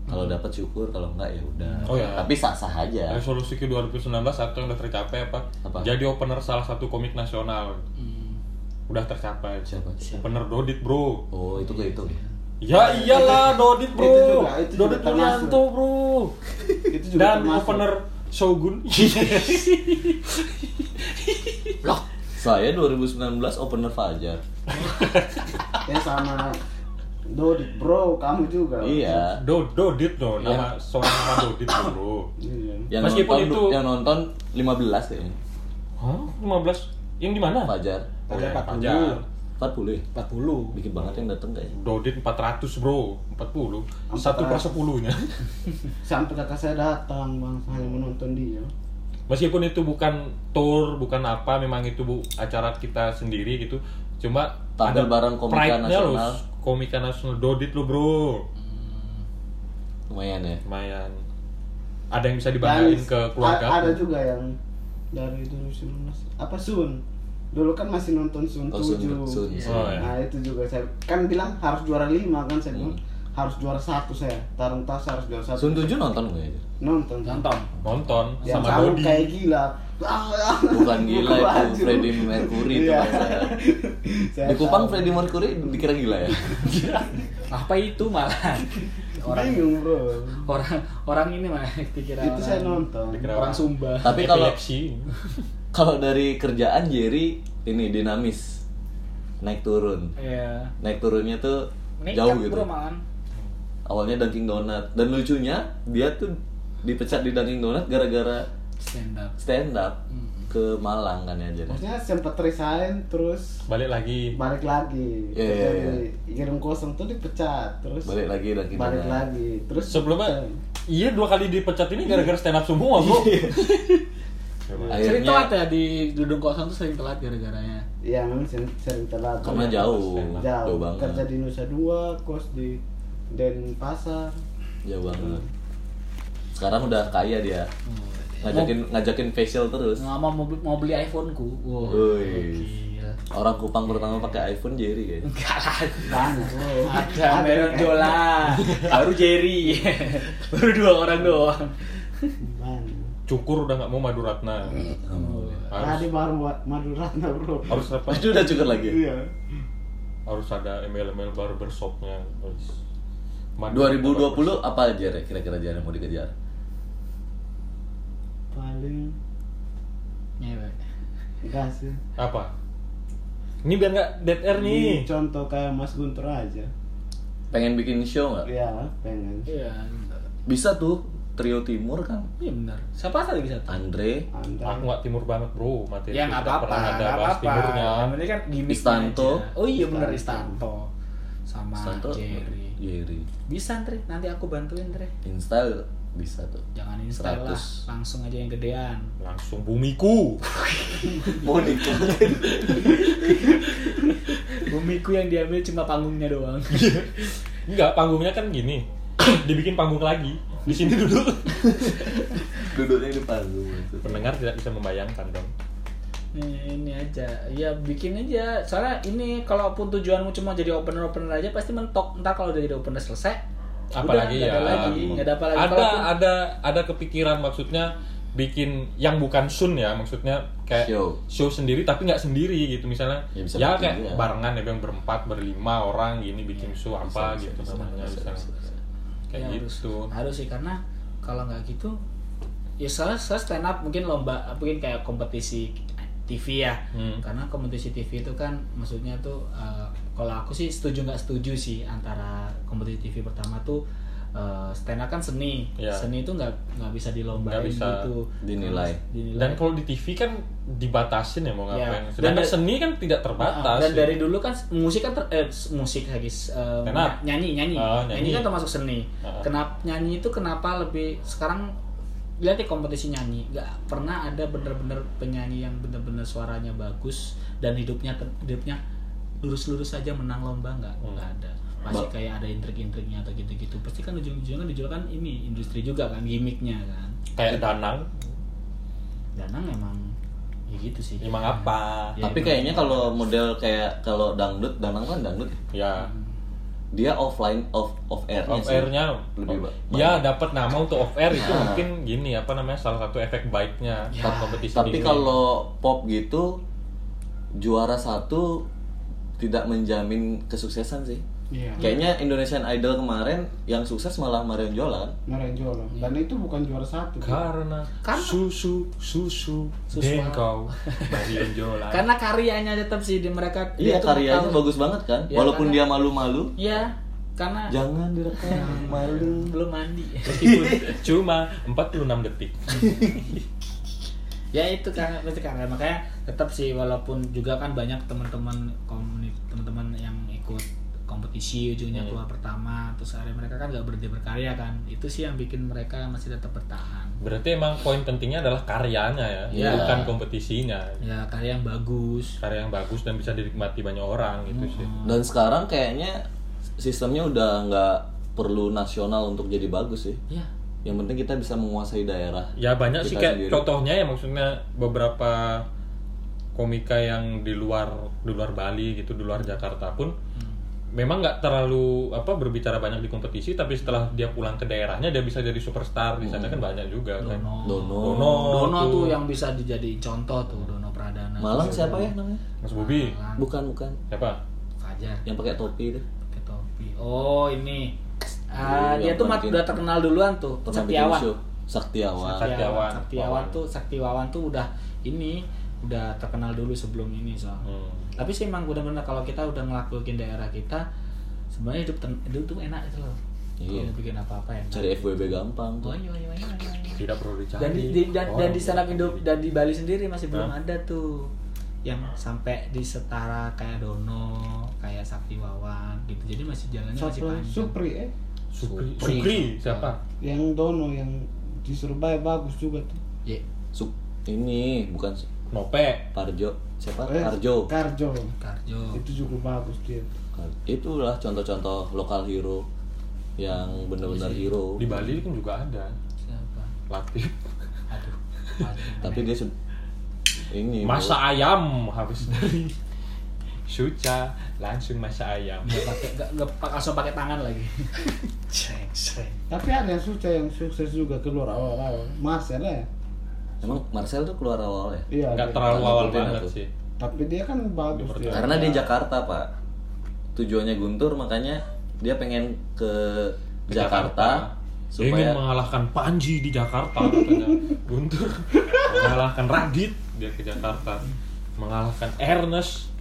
kalau dapat syukur kalau enggak ya udah Oh, iya. tapi sah sah aja Resolusi ke 2019 satu yang udah tercapai apa? Ya. Apa? Hmm. Jadi opener salah satu komik nasional. udah tercapai. Siapa? Bener Dodit bro. Oh itu ke itu. Ya iyalah Dodit bro. Itu juga, itu juga Dodit termasuk. Mulyanto bro. Itu juga Dan termasuk. opener Shogun. Loh, saya 2019 opener Fajar. ya sama Dodit bro kamu juga Iya. Do Dodit loh, nama seorang nama Dodit bro. Iya. Yang Meskipun nonton, itu- yang nonton 15 kayaknya. Hah? 15? Yang di mana? Fajar. Oh, ya, Fajar. Fajar. 40 ya? 40 Dikit banget yang dateng kayaknya. Dodit 400 bro, 40 Empat Satu per ratus. sepuluhnya sampai kakak saya datang bang hanya menonton dia Meskipun itu bukan tour, bukan apa, memang itu bu, acara kita sendiri gitu Cuma Tampil bareng komika pride-nya loh, nasional. Komika nasional, Dodit lo bro Lumayan ya. Lumayan Ada yang bisa Dan dibanggain ke keluarga a- ada aku. juga yang dari 2019 apa Sun dulu kan masih nonton Sun Oh, Sun, 7 Sun, Sun. Oh, ya. nah itu juga saya kan bilang harus juara 5 kan saya bilang harus juara satu saya tarung tas harus juara satu Hmm. Sun 7 nonton gue aja. nonton nonton Nonton yang sama kamu Dodi kayak gila Bukan gila Buku itu baju. Freddie Mercury itu Iya. bahasa. Saya Di Kupang tahu. Freddie Mercury dikira gila ya. apa itu malah orang bingung bro orang orang ini malah pikiran itu saya orang, nonton Dikira orang Sumba Tapi kalau Epilepsi. kalau dari kerjaan Jerry ini dinamis. Naik turun. ya Naik turunnya tuh Nekat jauh gitu. bro malam Awalnya Dunkin Donat dan lucunya dia tuh dipecat di Dunkin Donat gara-gara stand up stand up ke Malang kan ya Jerry. Hmm. maksudnya sempat resign terus Balik lagi balik lagi Iya, iya, iya. Jadi, gedung kosong tuh dipecat terus Balik lagi, lagi, balik balik. lagi terus Eh, Sebelumnya Iya dua kali dipecat ini gara-gara stand up semua bro sering Akhirnya telat ya di gedung kosong tuh sering telat gara-garanya ya memang sering, sering telat karena Karena jauh, jauh, jauh banget. kerja di Nusa Dua kos di Denpasar Jauh banget. Sekarang udah kaya dia. Ngajakin ngajakin facial terus. nggak mau mau beli, mau beli iPhone ku wow Woi. gila Orang Kupang pertama pakai iPhone Jerry kayaknya. enggak ada banyak bro ada Meron Jola baru Jerry baru dua orang doang banyak Cukur udah nggak mau Maduratna tadi Oh. harus, baru wa- Madu Ratna bro harus apa? Aduh udah cukur lagi. iya harus ada email-email baru bershopnya harus 2020 apa aja Re? kira-kira Jer, yang mau dikejar? paling ya. Ngewek. enggak sih apa ini biar nggak dead air Ini nih contoh kayak Mas Guntur aja Pengen bikin show nggak? ya pengen iya Bisa tuh trio timur kan? iya benar siapa tadi bisa tahu Andre, aku Anda nggak timur banget bro materi ya nggak tidak apa-apa pernah ada nggak bahas apa-apa timurnya yang penting kan gimmick Istanto. oh iya benar Istanto. Istanto sama Santo, Jerry Jerry, bisa Andre nanti aku bantuin Andre Insta bisa tuh. jangan install lah 100. langsung aja yang gedean langsung bumiku Mau dikejar? bumiku yang diambil cuma panggungnya doang nggak panggungnya kan gini dibikin panggung lagi di sini duduk Duduknya di panggung. gitu. pendengar tidak bisa membayangkan dong Nih, ini aja ya bikin aja soalnya ini kalaupun tujuanmu cuma jadi opener opener aja pasti mentok ntar kalau udah jadi opener selesai udah, apalagi nggak ya ada lagi nggak ada apa lagi ada Kalaupun- ada ada kepikiran maksudnya bikin yang bukan sun ya maksudnya kayak Show. sendiri tapi nggak sendiri gitu misalnya Ya, ya, bisa bikin kayak juga. barengan ya yang berempat berlima orang gini bikin show apa bisa, gitu bisa, namanya bisa, misalnya. bisa, bisa. Ya, kayak harus- gitu harus, sih karena kalau nggak gitu ya soalnya, soalnya stand up mungkin lomba mungkin kayak kompetisi TV ya Hmm. karena kompetisi TV itu kan maksudnya tuh eh, kalau aku sih setuju nggak setuju sih antara kompetisi TV pertama tuh eh, stand up kan seni Ya. seni itu nggak nggak bisa dilombain Nggak bisa gitu dinilai. Dinilai. dan kalau di TV kan dibatasin ya mau Ya. ngapain Dan sedangkan dari- seni kan tidak terbatas dan ya. dari dulu kan musik kan ter- eh, s- musik lagi s- eh, Stand up. nyanyi nyanyi. Oh, nyanyi nyanyi. kan termasuk seni. Heeh. Kenapa nyanyi itu kenapa lebih sekarang lihat ya kompetisi nyanyi nggak pernah ada bener-bener penyanyi yang bener-bener suaranya bagus dan hidupnya ter- hidupnya lurus-lurus saja menang lomba nggak Hmm. nggak ada pasti Ba- kayak ada intrik-intriknya atau gitu-gitu pasti kan ujung-ujungnya kan dijual kan ini industri juga kan gimmicknya kan kayak danang danang emang ya gitu sih emang apa Ya, Tapi emang. kayaknya kalau model kayak kalau dangdut, danang kan dangdut, ya? ya Hmm. dia offline off off air Iya off airnya lebih Iya. ba- ya dapat nama untuk off air itu mungkin gini apa namanya salah satu Ah, efek baiknya saat kompetisi ya. Tapi dingin. kalau pop gitu juara satu tidak menjamin kesuksesan sih. Iya. Kayaknya Indonesian Idol kemarin yang sukses malah Marion Jola kan? Narenjolo. Dan itu bukan juara satu. Karena, susu susu dengkau Marion Jola. karena karyanya tetap sih di mereka Iya dia tuh karyanya tahu- bagus banget kan? Iya, Walaupun dia karena- malu-malu, iya karena jangan direkam malu. Iya. belum mandi Meskipun cuma 46 detik. ya itu karena pasti karena makanya tetap sih walaupun juga kan banyak teman-teman komunitas teman-teman yang ikut kompetisi ujungnya Iya. Hmm. keluar pertama terus akhirnya mereka kan nggak berhenti berkarya kan itu sih yang bikin mereka masih tetap bertahan Berarti emang poin pentingnya adalah karyanya ya, Iya. bukan kompetisinya. ya karya yang bagus Karya yang bagus dan bisa dinikmati banyak orang gitu sih. Dan sekarang kayaknya sistemnya udah nggak perlu nasional untuk jadi bagus sih. ya Yang penting kita bisa menguasai daerah. Ya banyak kita sih kayak sendiri. contohnya ya maksudnya beberapa komika yang di luar di luar Bali gitu, di luar Jakarta pun Hmm. memang nggak terlalu apa berbicara banyak di kompetisi tapi setelah dia pulang ke daerahnya dia bisa jadi superstar di sana kan banyak juga kan. Oh. Dono Oh, Dono. Dono, Dono tuh. tuh yang bisa dijadiin contoh tuh Dono Nah, Pradana Malang siapa ya namanya? Mas Bobi. Bukan bukan. Siapa? Fajar Yang pakai topi itu. pakai topi oh ini ah Dulu dia yang tuh mat- bikin- udah terkenal duluan tuh Iya, Pernah bikin Setiawan show. Saktiawan. Saktiawan. Saktiawan Wawan. tuh Saktiawan tuh udah ini udah terkenal dulu sebelum ini soalnya. Hmm. Tapi sih emang bener-bener kalau kita udah ngelakuin daerah kita sebenarnya hidup ten- hidup tuh enak gitu loh. Iya. Kalau bikin apa-apa enak. iya, Cari FWB gampang tuh. Oh, iya. Woy, woy, woy, woy. Tidak perlu dicari. Dan di, di- dan, dan di Orang. stand up Indo dan di Bali sendiri masih belum ada tuh yang sampai di setara kayak Dono, kayak Sakti Wawan gitu. Jadi masih jalannya masih Sapro panjang. Supri eh Supri. Supri siapa? Hmm. yang Dono yang di Surabaya bagus juga tuh. Ye, Suk ini bukan Su- Nope. Parjo siapa? Eh, Parjo. Karjo. Oh. Karjo. Itu juga bagus dia. Kar- Itulah contoh-contoh lokal hero yang benar-benar Iya. hero. Di Bali kan juga ada. Siapa? Latif. Aduh. Tapi dia sud- ini Masak ayam habis dari Suca langsung masak ayam. nggak pakai nggak nggak pak- langsung pakai tangan lagi sreng sreng Tapi ada yang susah yang sukses juga keluar awal-awal. Mas ya. lah ya? Emang Marcel tuh keluar awal ya? Iya. Nggak dia. terlalu awal Ngikutin banget aku. sih. Tapi dia kan bagus dia. Karena Iya. di Jakarta, Pak. Tujuannya Guntur makanya dia pengen ke, Ke Jakarta, Dia ingin supaya mengalahkan Panji di Jakarta katanya. Guntur mengalahkan Radit dia ke Jakarta. Mengalahkan Ernest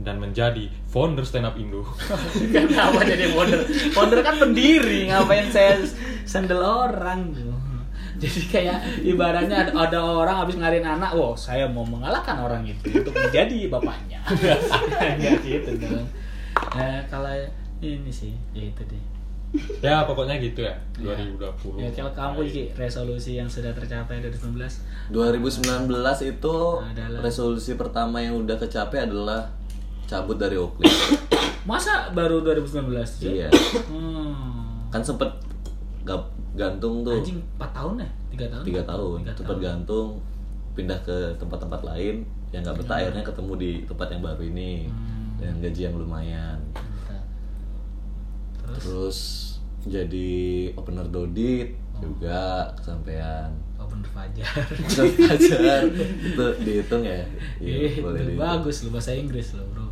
dan menjadi founder stand up Indo. kenapa jadi founder founder kan pendiri ngapain saya sandal orang jadi kayak ibaratnya ada, ada orang habis ngariin anak wow saya mau mengalahkan orang itu untuk menjadi bapaknya ya gitu dong nah, kalau ini sih ya itu deh ya pokoknya gitu ya. Iya. 2020. ya kalau kamu Ki, resolusi yang sudah tercapai dari 2019 2019 itu Adalah- resolusi pertama yang udah kecapai adalah cabut dari Oakley. masa baru 2019 Cuk? iya. hmm. Kan sempet gap- gantung tuh. Anjing 4 tahun ya? 3 tahun? tiga tahun kan? Tiga tempat gantung pindah ke tempat-tempat lain yang nggak betah akhirnya ketemu di tempat yang baru ini Iya. Hmm. dengan gaji yang lumayan Mantap. Terus terus jadi opener dodit Oh. juga kesampaian Open oh, Fajar. terus belajar itu dihitung ya Iya, Ih, boleh dihitung. bagus lu bahasa Inggris lo, Bro. Oh,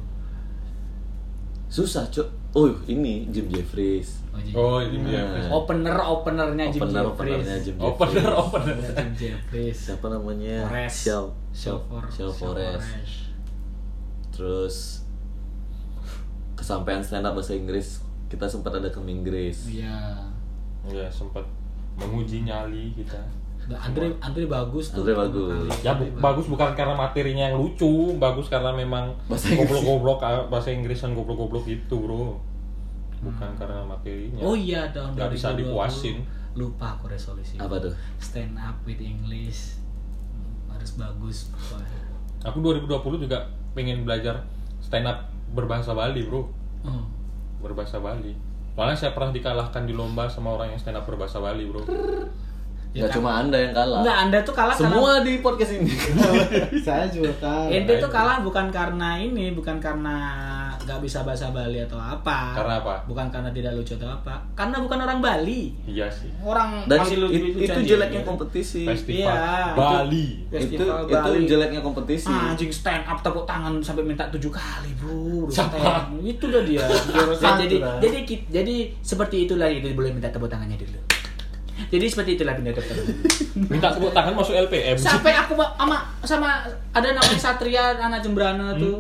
susah cuk oh ini Jim Jeffries Oh, Jim- Oh, ini dia. opener openernya Eh, Jim opener openernya Jeffries. Jim Jeffries Opener, opener. Openernya Jim Jeffries. siapa namanya Forest. Shell Shell For- Shell Shell Forest Forest. terus kesampaian stand up bahasa Inggris kita sempat ada ke Inggris Iya. Ya sempat menguji nyali kita. Nah, Andre Andre bagus tuh. Andre bagus. Ya bu- bagus bukan karena materinya yang lucu, bagus karena memang Bahasa Inggris. goblok-goblok ah, bahasa Inggrisan goblok-goblok itu, Bro. Bukan karena materinya. Oh iya tahun Nggak bisa 2020. dipuasin. Lupa aku resolusi. apa tuh Stand up with English. Harus bagus. pokoknya. Aku 2020 juga pengen belajar stand up berbahasa Bali, Bro. Hmm. Berbahasa Bali. Soalnya saya pernah dikalahkan di lomba sama orang yang stand up berbahasa Bali, Bro. Ya, nggak cuma anda yang kalah Enggak, Anda tuh kalah karena- semua di podcast ini Saya juga kan. Ente tuh kalah bukan karena ini, bukan karena nggak bisa bahasa Bali atau apa Karena apa? bukan karena tidak lucu atau apa karena bukan orang Bali Iya sih. orang Dan masih it- lucu itu jeleknya kompetisi. Festival Iya. Bali. Itu Festival itu Bali. Ah, jeleknya kompetisi. anjing stand up tepuk tangan sampai minta tujuh kali bro Siapa? Stand. itu udah dia jadi satu jadi, lah. jadi ki- jadi seperti itulah itu boleh minta tepuk tangannya dulu jadi seperti itulah minta tepuk tangan Minta tepuk tangan masuk LPM. sampai aku ma- sama sama ada namanya Satria anak Jembrana Hmm. tuh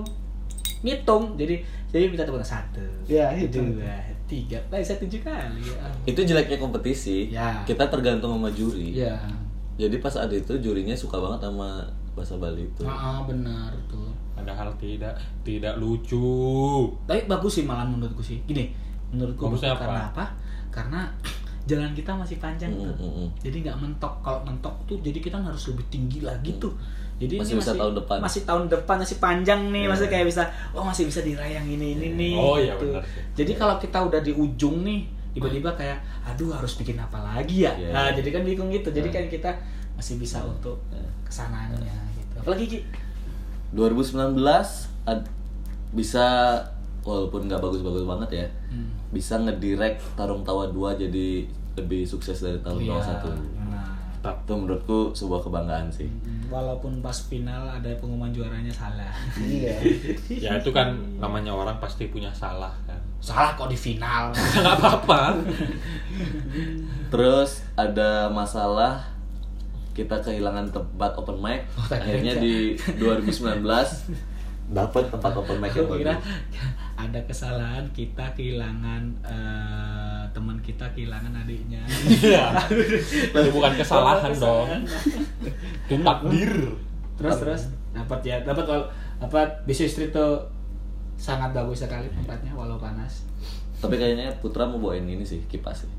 ngitung jadi jadi minta tepuk tangan satu Ya, itu. dua tiga lah saya tujuh kali ya Itu jeleknya kompetisi. Ya. Kita tergantung sama juri. Iya. ya Jadi pas ada itu jurinya suka banget sama bahasa Bali itu. Ah, ah, benar tuh Padahal tidak tidak lucu. tapi bagus sih malah menurutku sih gini menurutku Bagusnya bagus. karena apa karena jalan kita masih panjang Mm, tuh mm, mm. jadi nggak mentok kalau mentok tuh jadi kita harus lebih tinggi lagi tuh jadi Masih ini bisa tahun depan. masih tahun depan masih panjang nih maksudnya kayak bisa oh masih bisa dirayang ini ini nih Oh, iya, benar sih. jadi kalau kita udah di ujung nih tiba-tiba kayak aduh harus bikin apa lagi ya Iya. nah jadi kan bingung gitu jadi kan kita masih bisa untuk kesanaannya gitu apalagi Ki? 2019 ad- bisa walaupun nggak bagus-bagus banget ya. Hmm. Bisa ngedirect Tarung Tawa 2 jadi lebih sukses dari Tarung Tawa Iya, 1. nah. Itu menurutku sebuah kebanggaan sih. Walaupun pas final ada pengumuman juaranya salah. Iya. Ya itu kan namanya orang pasti punya salah kan. salah kok di final. Enggak apa-apa. Terus ada masalah kita kehilangan tempat open mic. Oh, tak kira Akhirnya bisa. di 2019 dapat tempat open mic yang Aku kira bagus. ada kesalahan kita kehilangan eh, teman kita kehilangan adiknya. Oh, Iya. itu bukan kesalahan dong. Itu takdir. terus terus dapat ya dapat wal- dapat bisnis street tuh sangat bagus sekali tempatnya walau panas Tapi kayaknya Putra mau bawain ini sih kipas sih.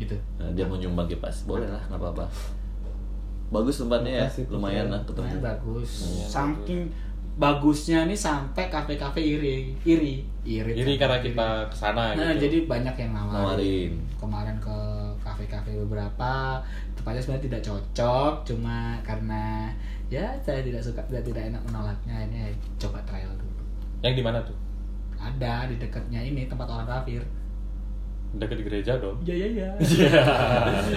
gitu. Nah, dia mau nyumbang kipas. Boleh lah, nggak apa-apa. Bagus tempatnya ya, Makasih, Putra. lumayan lah Tempatnya ketemu. Iya. bagus. Saking bagusnya nih sampai kafe-kafe iri iri iri Iri karena kita kesana Nah, gitu. jadi banyak yang nawarin. Nawarin. Kemarin ke kafe-kafe beberapa, tepatnya sebenarnya tidak cocok, cuma karena ya saya tidak suka, tidak tidak enak menolaknya ini ya, coba trial dulu. Yang di mana tuh? Ada di dekatnya ini tempat orang kafir. Dekat gereja dong. Ya ya ya. Iya.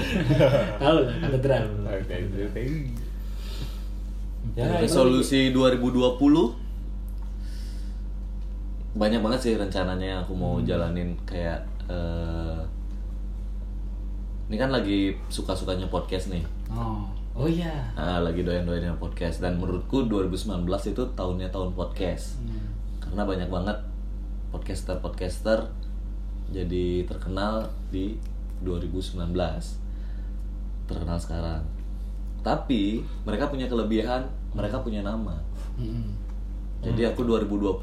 Tahu lah katedral. Oke, oke, oke. Nah, gitu. Ya, Nah, Resolusi 2020 banyak banget sih rencananya yang aku mau jalanin kayak eh, ini kan lagi suka-sukanya podcast nih. Oh, oh iya. Ah, lagi doyan-doyannya podcast dan menurutku 2019 itu tahunnya tahun podcast. Hmm. Karena banyak banget podcaster-podcaster jadi terkenal di 2019. Terkenal sekarang. Tapi mereka punya kelebihan, mereka punya nama. Mm-mm. Hmm. Jadi aku 2020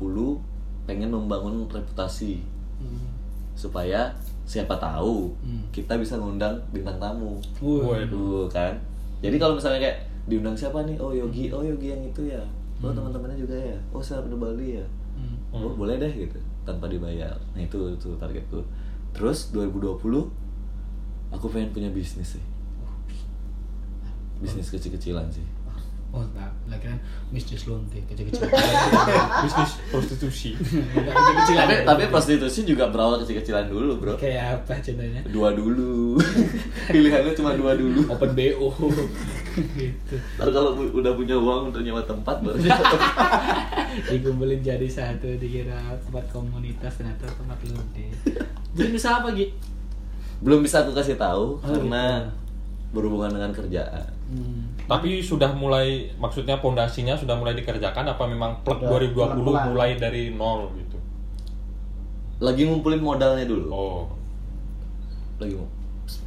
pengen membangun reputasi Mm-mm. supaya siapa tahu Hmm. kita bisa ngundang bintang tamu. Wuh. Waduh kan. Jadi kalau misalnya kayak diundang siapa nih? Oh Yogi, Hmm. oh Yogi yang itu ya. Oh teman-temannya juga ya. Oh saya di Bali ya. Hmm. Oh boleh deh gitu tanpa dibayar. Nah itu itu targetku. Terus 2020 aku pengen punya bisnis sih. Bisnis kecil-kecilan sih. Oh, enggak. Lagi kan mistis lonte kecil-kecil. bisnis prostitusi. kecil-kecil. Tapi tapi prostitusi juga berawal kecil-kecilan dulu, Bro. Kayak apa contohnya? Dua dulu. Pilihannya cuma dua dulu. open BO gitu Ntar kalau bu- udah punya uang untuk nyewa tempat baru dikumpulin jadi satu dikira tempat komunitas ternyata tempat londe jadi bisa apa Gi? belum bisa aku kasih tahu Oh, karena gitu. berhubungan dengan kerjaan. Hmm. Tapi sudah mulai maksudnya pondasinya sudah mulai dikerjakan apa memang plek Udah, 2020 pelan-pelan. mulai dari nol gitu. Lagi ngumpulin modalnya dulu. Oh. Lagi mau.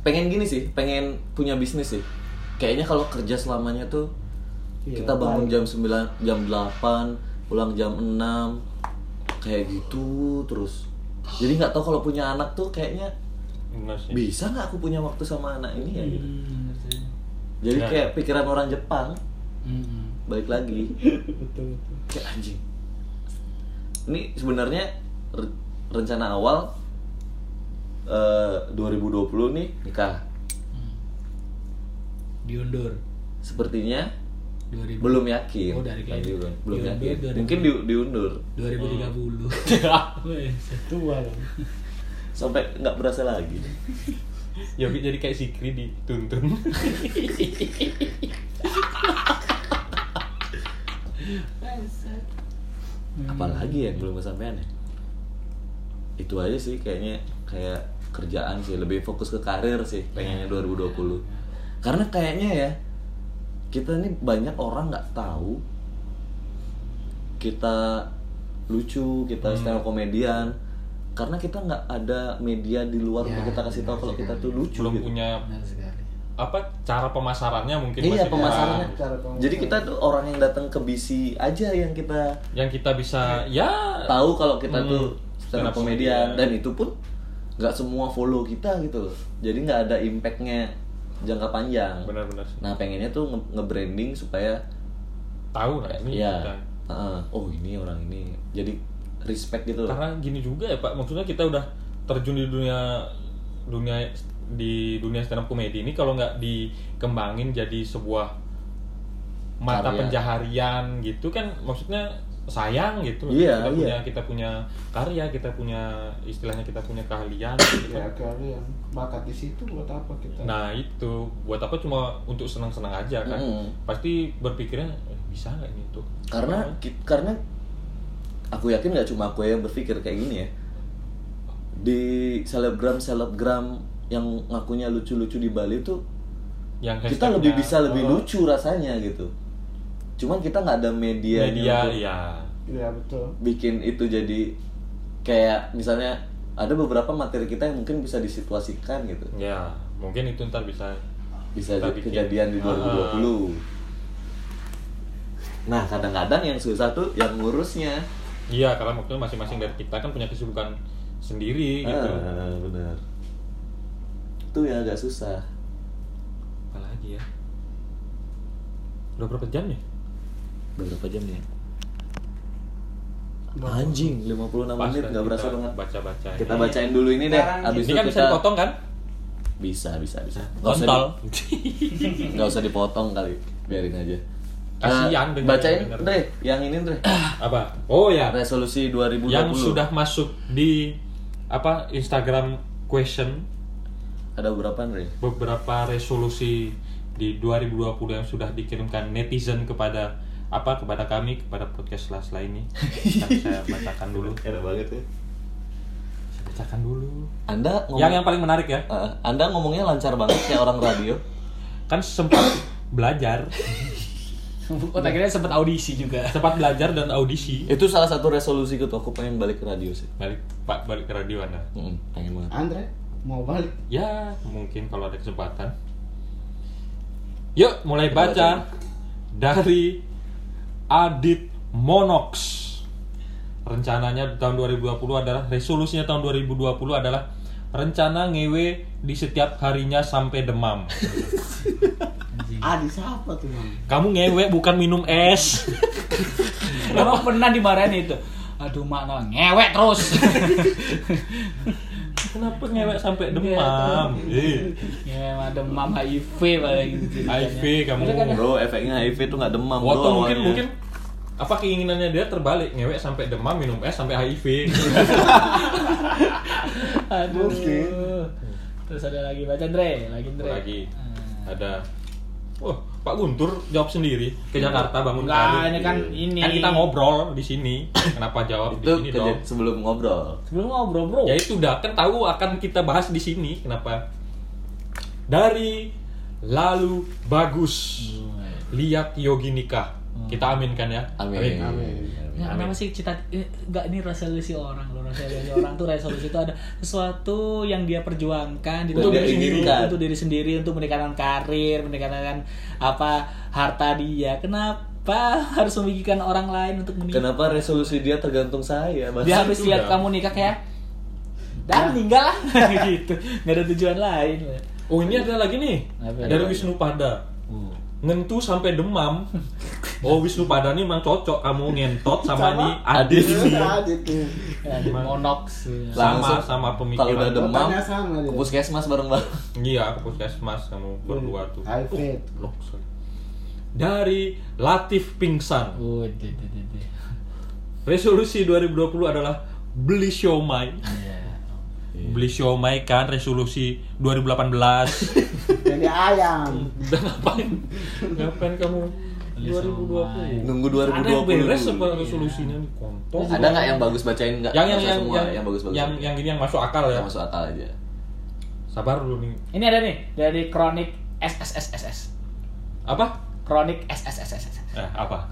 Pengen gini sih, pengen punya bisnis sih. Kayaknya kalau kerja selamanya tuh Iya, kita bangun baik. jam 9, jam 8, pulang jam 6 kayak gitu terus. Jadi nggak tahu kalau punya anak tuh kayaknya bener sih. bisa nggak aku punya waktu sama anak ini ya gitu. Iya. Hmm, Iya. ngerti. Jadi Nah. kayak pikiran orang Jepang Hmm. balik lagi Betul betul. kayak anjing ini sebenarnya re- rencana awal eh, 2020 nih nikah diundur sepertinya 2000 belum yakin Oh, dari Lagi Glenn. belum, belum Diundur, yakin dari- mungkin di- diundur 2030. Oh. tua kan sampai nggak berasa lagi Yogi Ya, jadi kayak Sikri dituntun. apalagi yang belum kesampaian ya itu aja sih kayaknya kayak kerjaan sih lebih fokus ke karir sih pengennya 2020 karena kayaknya ya kita nih banyak orang nggak tahu kita lucu kita stand up komedian karena kita nggak ada media di luar Ya, untuk kita kasih tahu kalau kita tuh lucu Belum gitu. punya Benar sekali. apa cara pemasarannya mungkin iya maksudnya. pemasarannya Cara pemasaran. jadi kita tuh orang yang datang ke BC aja yang kita yang kita bisa ya tahu kalau kita Hmm. iya. tuh stand up komedian Stand up comedian. dan itu pun nggak semua follow kita gitu loh. Jadi nggak ada impactnya jangka panjang. benar-benar sih. Nah pengennya tuh nge- nge-branding supaya tahu lah ini ya kita. heeh, oh ini orang ini jadi respect gitu loh. karena gini juga ya pak maksudnya kita udah terjun di dunia dunia di dunia stand up comedy ini kalau nggak dikembangin jadi sebuah mata Karya. penjaharian gitu kan maksudnya sayang gitu Iya, iya. kita punya kita punya karya kita punya istilahnya kita punya keahlian Iya, gitu ya kan. kali yang bakat di situ buat apa kita nah itu buat apa cuma untuk senang-senang aja kan Mm-mm. pasti berpikirnya "Eh, bisa nggak ini tuh Karena ki- karena aku yakin nggak cuma aku yang berpikir kayak gini ya. Di selebgram selebgram yang ngakunya lucu-lucu di Bali tuh yang kita lebih hashtagnya Oh. bisa lebih lucu rasanya gitu cuman kita nggak ada media media ya ya betul bikin itu jadi kayak misalnya ada beberapa materi kita yang mungkin bisa disituasikan gitu ya mungkin itu ntar bisa bisa Kita jadi bikin. Ah, kejadian di 2020 nah kadang-kadang yang susah tuh yang ngurusnya Iya, karena maksudnya masing-masing dari kita kan punya kesibukan sendiri gitu. Ah, bener itu yang agak susah Apalagi ya. Udah berapa jam ya? berapa jam nih anjing 56 menit Pas kan nggak berasa kita banget Baca-baca. kita ini. bacain dulu ini deh Sekarang abis Ini itu kan kita bisa dipotong kan? bisa bisa bisa Nggak usah di- Kontol. nggak usah dipotong kali biarin aja Eh, Kasihan dengerin, bacain dengerin. Dre yang ini Dre Apa? Oh ya. resolusi 2020 Yang sudah masuk di apa Instagram question ada berapa Dre beberapa resolusi di 2020 yang sudah dikirimkan netizen kepada apa kepada kami kepada podcast last ini Ntar saya bacakan dulu enak banget ya saya bacakan dulu anda ngomong, yang yang paling menarik ya Eh, anda ngomongnya lancar banget kayak orang radio kan sempat belajar Oh, akhirnya sempat audisi juga. sempat belajar dan audisi itu salah satu resolusi gitu aku pengen balik ke radio sih balik pak balik ke radio anda Mm, pengen banget Andre mau balik ya mungkin kalau ada kesempatan yuk mulai baca dari Adit Monox rencananya tahun 2020 adalah resolusinya tahun 2020 adalah rencana ngewe di setiap harinya sampai demam Adi siapa tuh bang kamu ngewe bukan minum es Emang pernah dimarahin itu. Aduh mak no, ngewek terus. kenapa ngewe Iya, sampai demam Iya. Ih. ya emang demam HIV paling kan gitu. HIV kamu bro efeknya HIV tuh nggak demam Waktu bro mungkin awalnya. mungkin apa keinginannya dia terbalik ngewek sampai demam minum es sampai HIV. Aduh. Terus ada lagi baca Andre, lagi Hmm. Andre. Lagi ada Wah, Pak Guntur jawab sendiri ke Jakarta bangun Enggak, karir. ini kan ini. Kan kita ngobrol di sini. Kenapa jawab itu di sini kejadian dong? sebelum ngobrol Sebelum ngobrol, Bro. Ya itu udah kan tahu akan kita bahas di sini. Kenapa? Dari lalu bagus Hmm. lihat Yogi nikah. Kita aminkan ya. amin Ya, kenapa sih cita eh, enggak ini resolusi orang loh resolusi orang tuh resolusi itu ada sesuatu yang dia perjuangkan di Untuk dalam dia inginkan. untuk diri sendiri untuk meningkatkan karir meningkatkan apa harta dia kenapa harus memikirkan orang lain untuk menikah kenapa resolusi dia tergantung saya Mas? dia harus Itu lihat udah. kamu nikah kayak dan meninggal lah." gitu nggak ada tujuan lain Oh ini ada lagi nih Apa? dari Wisnu Pada. Ngentu sampai demam. Oh Wisnu Pada nih emang cocok kamu ngentot sama, nih Adit. Adi tuh Ya, di monoks ya. Langsung. Sama sama kalau udah pemikiran. demam Otaknya sama dia. ke puskesmas bareng bareng Iya, ke puskesmas kamu berdua tuh. HIV Loh, sorry. dari Latif Pingsan. Oh, deh, deh, deh, deh. Resolusi 2020 adalah beli siomay. Iya. Beli siomay kan resolusi 2018. Jadi ayam. Udah ngapain? Ngapain kamu? 2020. Nunggu Ada 2020 yang beres dulu. apa resolusinya nih? Kontol. Ada nggak yang bagus bacain nggak? Yang yang Masa yang semua yang, yang bagus bagus. yang yang ini yang masuk akal ya. yang masuk akal aja. Sabar dulu nih. Ini ada nih dari Chronic SSSSS. Apa? Chronic SSSSS. Eh, apa?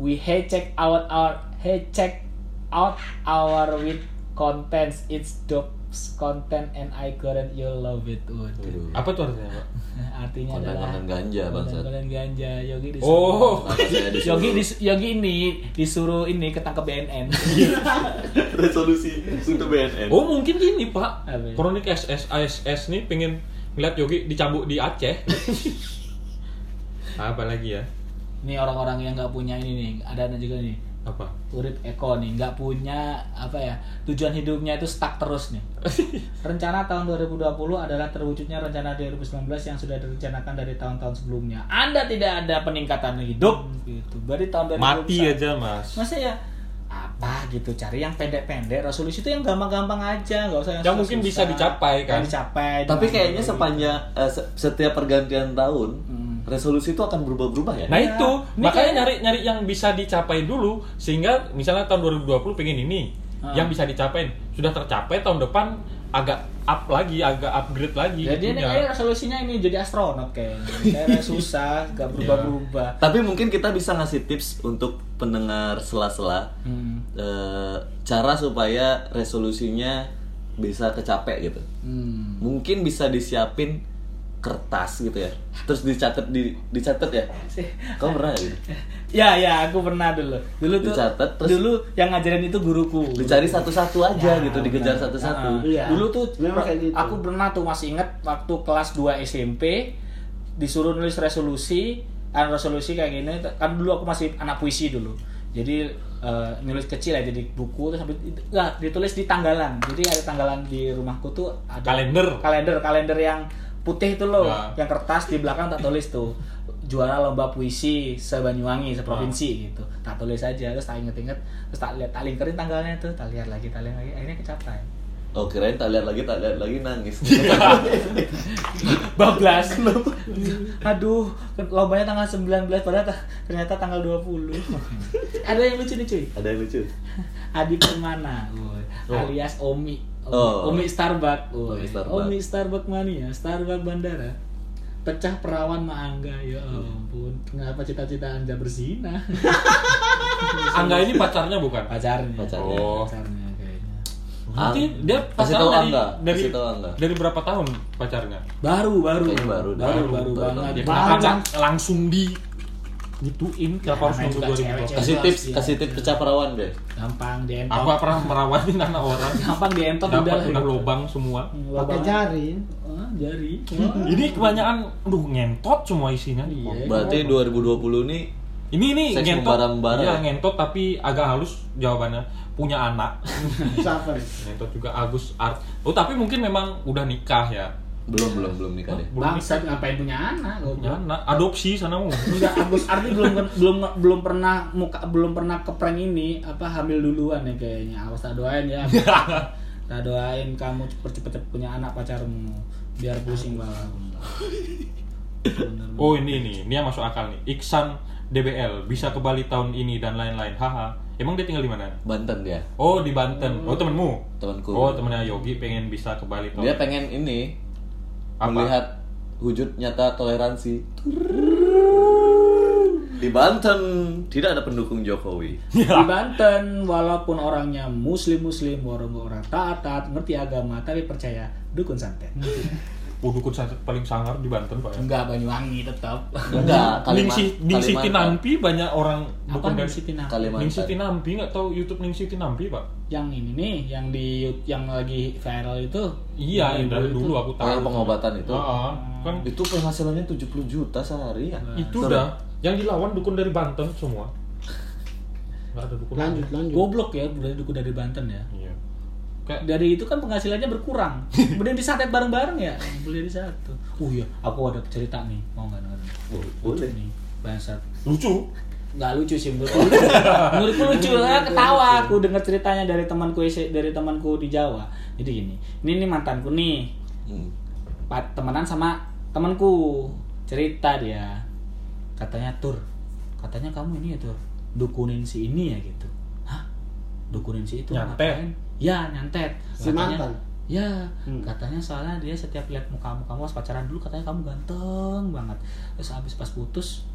We hey check out our hey check out our with contents. It's dope content and I guarantee you love it. Waduh. Aduh. Apa tuh artinya, Pak? Artinya adalah Konten-konten ganja, bangsat. Konten ganja Yogi disuruh. Oh. Saya disuruh. Yogi dis- Yogi ini disuruh ini ketangkep BNN. resolusi untuk BNN. Oh mungkin gini pak, Apa ya? kronik SS ASS nih pengen ngeliat Yogi dicambuk di Aceh. Apa lagi ya? Ini orang-orang yang nggak punya ini nih, ada ada juga nih. Apa? Urip Eko nih nggak punya apa ya tujuan hidupnya itu stuck terus nih. Rencana tahun 2020 adalah terwujudnya rencana 2019 yang sudah direncanakan dari tahun-tahun sebelumnya. Anda tidak ada peningkatan hidup gitu. Dari tahun 2021. Hmm, Mati aja mas. Masa ya apa gitu cari yang pendek-pendek resolusi itu yang gampang-gampang aja nggak usah yang Yang mungkin susah-susah. bisa dicapai, kan? Yang dicapai Tapi dengan- kayaknya sepanjang eh, se- setiap pergantian tahun Hmm. resolusi itu akan berubah-berubah ya. Nah Iya. itu Ini makanya kayak- nyari nyari yang bisa dicapai dulu sehingga misalnya tahun 2020 pengen ini Ah. yang bisa dicapai sudah tercapai tahun depan agak up lagi agak upgrade lagi. gitu ya. jadi ini itunya. kayak resolusinya ini jadi astronot kayaknya kayaknya susah nggak Iya. berubah-berubah Tapi mungkin kita bisa ngasih tips untuk pendengar sela-sela hmm. eh, cara supaya resolusinya bisa kecapek gitu. Hmm. Mungkin bisa disiapin kertas gitu ya. Terus dicatat di dicatat ya. Kamu pernah nggak gitu? Ya ya, aku pernah dulu. Dulu tuh Dicatat, terus- dulu yang ngajarin itu guruku. Dicari satu-satu aja Ya, gitu, dikejar benar. satu-satu. Nah, Iya. Dulu tuh Memang kayak gitu. aku pernah tuh masih inget waktu kelas 2 SMP disuruh nulis resolusi, kan resolusi kayak gini kan dulu aku masih anak puisi dulu. Jadi eh, nulis kecil aja di buku terus habis itu- nggak, ditulis di tanggalan. Jadi ada tanggalan di rumahku tuh ada Kalender. kalender kalender yang putih itu loh Ya. yang kertas di belakang tak tulis tuh juara lomba puisi sebanyuwangi seprovinsi gitu tak tulis aja terus tak inget-inget terus tak lihat tak lingkarin tanggalnya tuh tak lihat lagi tak lihat lagi akhirnya kecapai ah. Oh kirain tak lihat lagi, tak lihat lagi nangis. bablas aduh lombanya tanggal 19 padahal ta- ternyata tanggal 20 ada yang lucu nih cuy Ada yang lucu. Ya, Adi Permana woy. Oh. alias Omi Omi, Oh. Omi Starbuck woy. Omi Starbuck. Omi Starbuck mania Starbuck Bandara pecah perawan maangga ya Hmm. ampun kenapa cita-cita anda berzinah Angga ini pacarnya bukan? pacarnya Pacarnya. Oh. pacarnya kayaknya Berarti Ah, dia kasih pacaran tahu dari, Angga, dari, kasih tahu Angga. dari berapa tahun pacarnya? baru baru Kayaknya baru deh. baru baru, Baru, banget Ya, baru. kenapa Baru. nggak langsung di Nah, gituin? Kenapa harus namanya nunggu juga cewek-cewek. 2020? Kasih tips, Iya. kasih tips pecah perawan deh. Ya, gampang DM Aku nggak pernah merawatin anak orang. gampang DM tuh udah Dapat lah udah gitu. lobang semua. Pakai Lubang. jari. Ah, jari Ini kebanyakan, duh ngentot semua isinya. Iya. Berarti 2020 nih Ini ini Seks ngentot, membara-membara. ya? Iya, ngentot tapi agak halus jawabannya. Punya anak. Siapa nih? ngentot juga Agus Art. Oh tapi mungkin memang udah nikah ya. belum belum belum nikah deh. Belum bangsat ngapain punya anak punya goblok. anak, adopsi sanamu. Enggak, Agus Ardi belum belum belum pernah muka belum pernah keprank ini apa hamil duluan ya kayaknya. Awas tak doain ya. tak doain kamu cepet-cepet punya anak pacarmu biar pusing banget. Bener-bener. Oh ini ini, ini yang masuk akal nih. Iksan DBL bisa ke Bali tahun ini dan lain-lain. Haha. Emang dia tinggal di mana? Banten dia, Oh di Banten. Oh temenmu. temanku. Oh temennya Yogi pengen bisa ke Bali tahun. Dia pengen ini Apa? melihat wujud nyata toleransi. Di Banten tidak ada pendukung Jokowi. Di Banten walaupun orangnya muslim-muslim, orang orang taat-taat, ngerti agama tapi percaya dukun santet. Oh dukun santet paling sangar di Banten pak ya. Enggak Banyuwangi tetap. Enggak, Ningsih Ningsih Kalimantan. Tinampi banyak orang Apa dari- Ningsih Tinampi? Kalimantan. Ningsih Tinampi nggak tahu YouTube Ningsih Tinampi pak? Nah? Yang ini nih, yang di yang lagi viral itu. Iya Yang dari itu. dulu aku Oh, tahu. yang pengobatan itu. Ah, kan Itu penghasilannya 70 juta sehari ya. Nah, itu dah yang dilawan dukun dari Banten semua. Nggak ada dukun. Lanjut, lanjut. Goblok ya, dari dukun dari Banten ya. Iya. Kayak dari itu kan penghasilannya berkurang kemudian disantet Oh iya, bareng-bareng ya beli di satu uh ya aku ada cerita nih mau nggak dengerin Bo- Boleh. nih bangsat Lucu. nggak lucu sih menurutku lucu. menurutku lucu lah ketawa aku dengar ceritanya dari temanku S- dari temanku di Jawa jadi gini ini nih mantanku nih Hmm. Pa- temenan sama temanku cerita dia katanya tur katanya kamu ini ya tur dukunin si ini ya gitu hah dukunin si itu Nyantet. ngapain?" ya nyantet Si mantan? ya Hmm. katanya soalnya dia setiap lihat muka kamu kamu pas pacaran dulu katanya kamu ganteng banget terus habis pas putus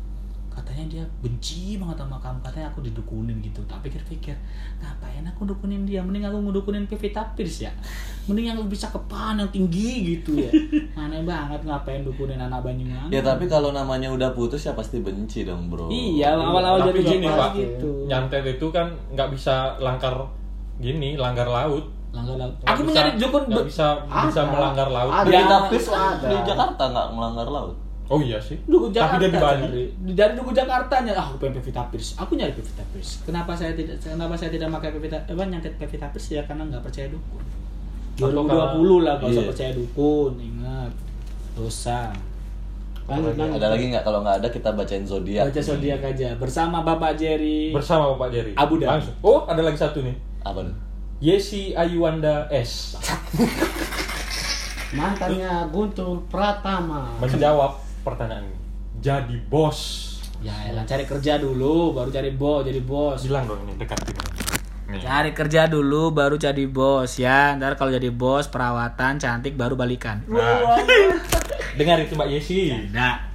katanya dia benci banget sama kamu katanya aku didukunin gitu tak pikir-pikir ngapain aku dukunin dia mending aku ngedukunin Pevita Pierce ya mending yang lebih cakepan yang tinggi gitu ya aneh banget ngapain dukunin anak Banyuwangi Ya tapi kalau namanya udah putus ya pasti benci dong bro. iya awal-awal Tapi jadi gini, jomblo Pak. gitu Nyantet itu kan nggak bisa langkar gini, langgar laut. langgar laut Nggak aku bisa- mencari dukun nggak bisa bisa Ada. melanggar laut. Ada. Pevita Ya, Pierce ada. di Jakarta nggak melanggar laut. Oh iya sih. Duku Tapi Jakarta dia di Bali. cari. Dari Duku Jakarta nyari, ah aku pengen Pevita Pierce. Aku nyari Pevita Pierce. Kenapa saya tidak kenapa saya tidak pakai Pevita eh apa, nyangket Pevita Pierce ya karena nggak percaya dukun. Atau 2020 karena- lah kalau usah Iya. percaya dukun, ingat. Dosa. Lanjut, lanjut. Ada lagi nggak? Kalau nggak ada kita bacain ya. zodiak. Baca zodiak aja bersama Bapak Jerry. Bersama Bapak Jerry. Abu Dhabi. Langsung. Oh, ada lagi satu nih. Apa nih? Yesi Ayuanda S Mantannya Guntur Pratama. menjawab pertanyaan ini. Jadi bos. ya elah cari kerja dulu baru cari bos, jadi bos. Bilang dong ini dekat sini. Nih. Cari kerja dulu baru jadi bos ya. Ntar kalau jadi bos perawatan cantik baru balikan. Nah. Dengar itu Mbak Yesi. Nah,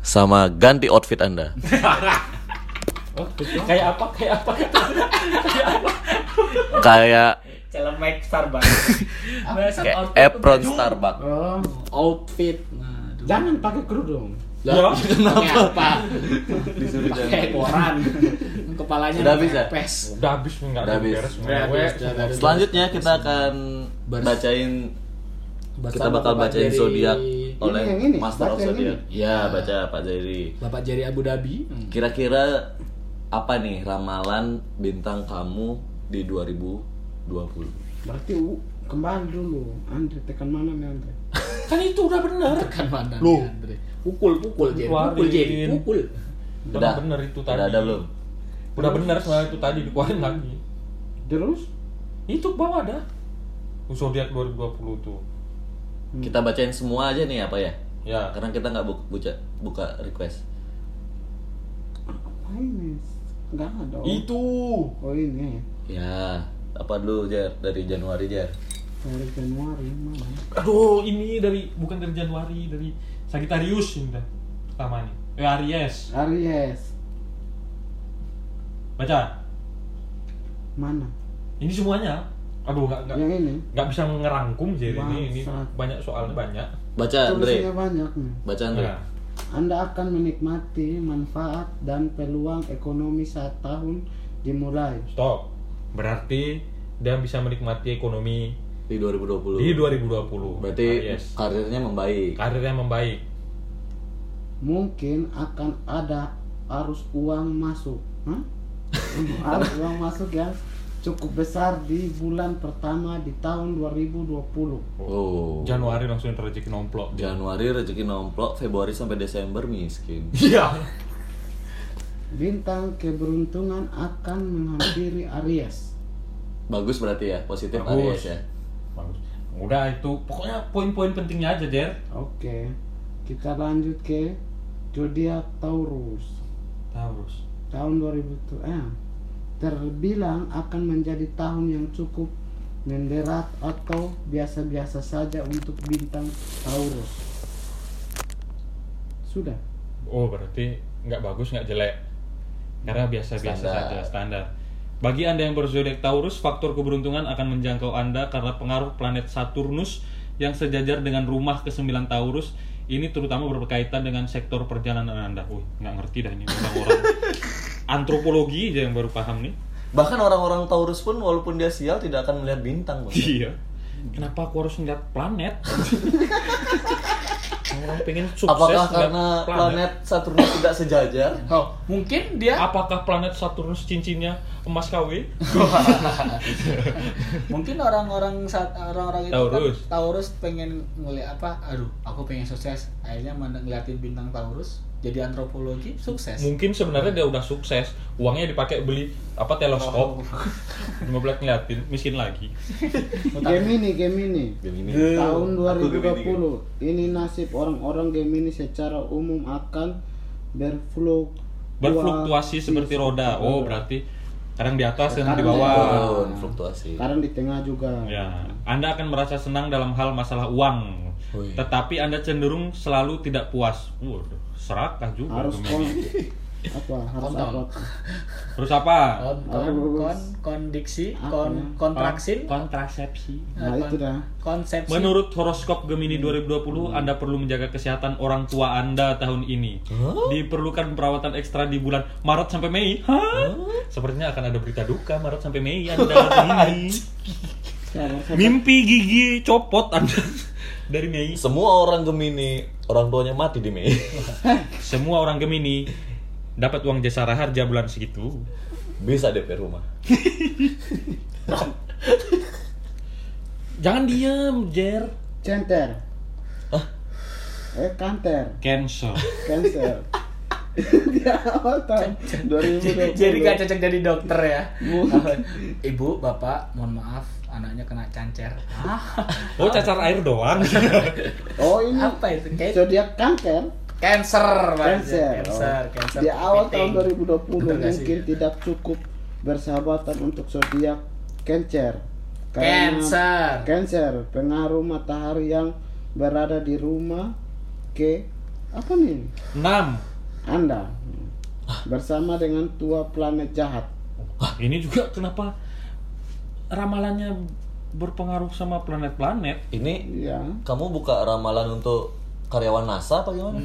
Sama ganti outfit anda. Oh, gitu. Kayak apa? Kayak apa? Kayak celemek Starbucks. Bahasan kayak outfit tuh apron baju. Starbucks. Oh, Outfit. Nah, aduh. jangan pakai kerudung. Lah, Ya, kenapa? Apa? Disuruh Pakai koran. Kepalanya Sudah habis ya? pes. Udah habis nih enggak Udah ada habis. beres. Udah Gue habis, udah habis. Selanjutnya kita akan Bers- bacain kita Bersama bakal Bapak bacain Jerry- zodiak oleh yang ini, Master of baca yang Zodiac. Ya, baca Pak Jerry. Bapak Jerry Abu Dhabi. Hmm. Kira-kira apa nih ramalan bintang kamu di 2020? Berarti u- kembali dulu. Andre tekan mana nih Andre? Kan itu udah bener. Tekan mana Loh. nih, Andre? Pukul, pukul Jerry. Pukul Keluarin. Jerry, pukul. Udah bener itu tadi. Hmm. Udah ada belum? Udah bener sebenarnya itu tadi dikeluarin lagi. Terus? Itu bawah ada. Zodiak 2020 tuh. Kita bacain semua aja nih apa ya? Ya. Karena kita nggak bu- buka, buka request. Apa ini? Enggak ada. oh. Itu. Oh ini. Ya, apa dulu Jer dari Januari Jer? Dari Januari mana? Aduh, ini dari bukan dari Januari, dari Sagittarius ini dah. Pertama nih. Eh, Aries. Aries. Baca. Mana? Ini semuanya. Aduh, enggak enggak Yang ini. nggak bisa ngerangkum jadi ini ini Bangsat. banyak soalnya banyak Baca Tulisannya Eh, Andre. banyak nih. Baca Andre. Nah, Anda akan menikmati manfaat dan peluang ekonomi saat tahun dimulai. stop berarti dia bisa menikmati ekonomi Di 2020. di 2020 Berarti Aries. karirnya membaik. karirnya membaik Mungkin akan ada arus uang masuk. Hah? arus uang masuk yang cukup besar di bulan pertama di tahun 2020. Oh. Januari langsung rezeki nomplok Januari rezeki nomplok, Februari sampai Desember miskin. iya Bintang keberuntungan akan menghampiri Aries. Bagus berarti ya, positif Bagus. Aries ya. bagus udah itu pokoknya poin-poin pentingnya aja Jer Oke. Kita lanjut ke zodiak Taurus. terus tahun 2000 eh, terbilang akan menjadi tahun yang cukup menderat atau biasa-biasa saja untuk bintang Taurus. Sudah. oh berarti nggak bagus nggak jelek karena biasa-biasa Standar. saja standar bagi Anda yang berzodiak Taurus, faktor keberuntungan akan menjangkau Anda karena pengaruh planet Saturnus yang sejajar dengan rumah ke-9 Taurus. Ini terutama berkaitan dengan sektor perjalanan Anda. Wih, nggak ngerti dah ini orang-orang antropologi aja yang baru paham nih. Bahkan orang-orang Taurus pun walaupun dia sial tidak akan melihat bintang. Bang. Iya. Kenapa aku harus ngeliat planet? orang pengen sukses Apakah ngeliat karena planet Saturnus tidak sejajar? Oh, mungkin dia Ya. Apakah planet Saturnus cincinnya emas KW? mungkin orang-orang saat orang-orang itu Taurus. kan Taurus pengen ngeliat apa? Aduh, aku pengen sukses. Akhirnya mendeng- ngeliatin bintang Taurus. jadi antropologi sukses Mungkin sebenarnya dia udah sukses, uangnya dipakai beli apa teleskop. Cuma belas ngeliatin, miskin lagi. Gemini, Gemini. Game ini. Ge- Tahun Aku Gemini, 2020. Ini nasib orang-orang Gemini secara umum akan berfluk Berfluktuasi seperti roda. Oh, berarti kadang di atas dan di bawah. Turun, fluktuasi. Sekarang di tengah juga. Ya, Anda akan merasa senang dalam hal masalah uang. Wih. Tetapi Anda cenderung selalu tidak puas. Waduh, serakah juga Harus Gemini. kon apa? Harus Kontol. apa? Terus apa? kon kon kon kondiksi Apa ya? kon kontraksin Kontrasepsi. Nah, itu dah. konsepsi Menurut horoskop Gemini 2020, Anda perlu menjaga kesehatan orang tua Anda tahun ini. Diperlukan perawatan ekstra di bulan Maret sampai Mei. Hah? Sepertinya akan ada berita duka Maret sampai Mei Anda ini. Sabar, sabar. Mimpi gigi copot Anda dari Mei. Semua orang Gemini, orang tuanya mati di Mei. Semua orang Gemini dapat uang jasa raharja bulan segitu. Bisa DP rumah. Jangan diem, Jer. Center. Eh, kanker. Cancel. Cancer. Dia awal tahun 2020. jadi gak cocok jadi dokter ya ibu bapak mohon maaf anaknya kena cancer Ah. Hah? Oh, cacar air doang. Oh, ini apa itu Kayak zodiak kanker. cancer Cancer. cancer cancer, Oh. cancer. Di awal tahun Kepiting. 2020 Betul nggak sih? mungkin tidak cukup bersahabatan untuk zodiak Cancer. Karena cancer Cancer, pengaruh matahari yang berada di rumah ke apa nih? 6. Anda bersama dengan tua planet jahat. Ini juga kenapa ramalannya berpengaruh sama planet-planet. Ini Ya, kamu buka ramalan untuk karyawan NASA apa gimana?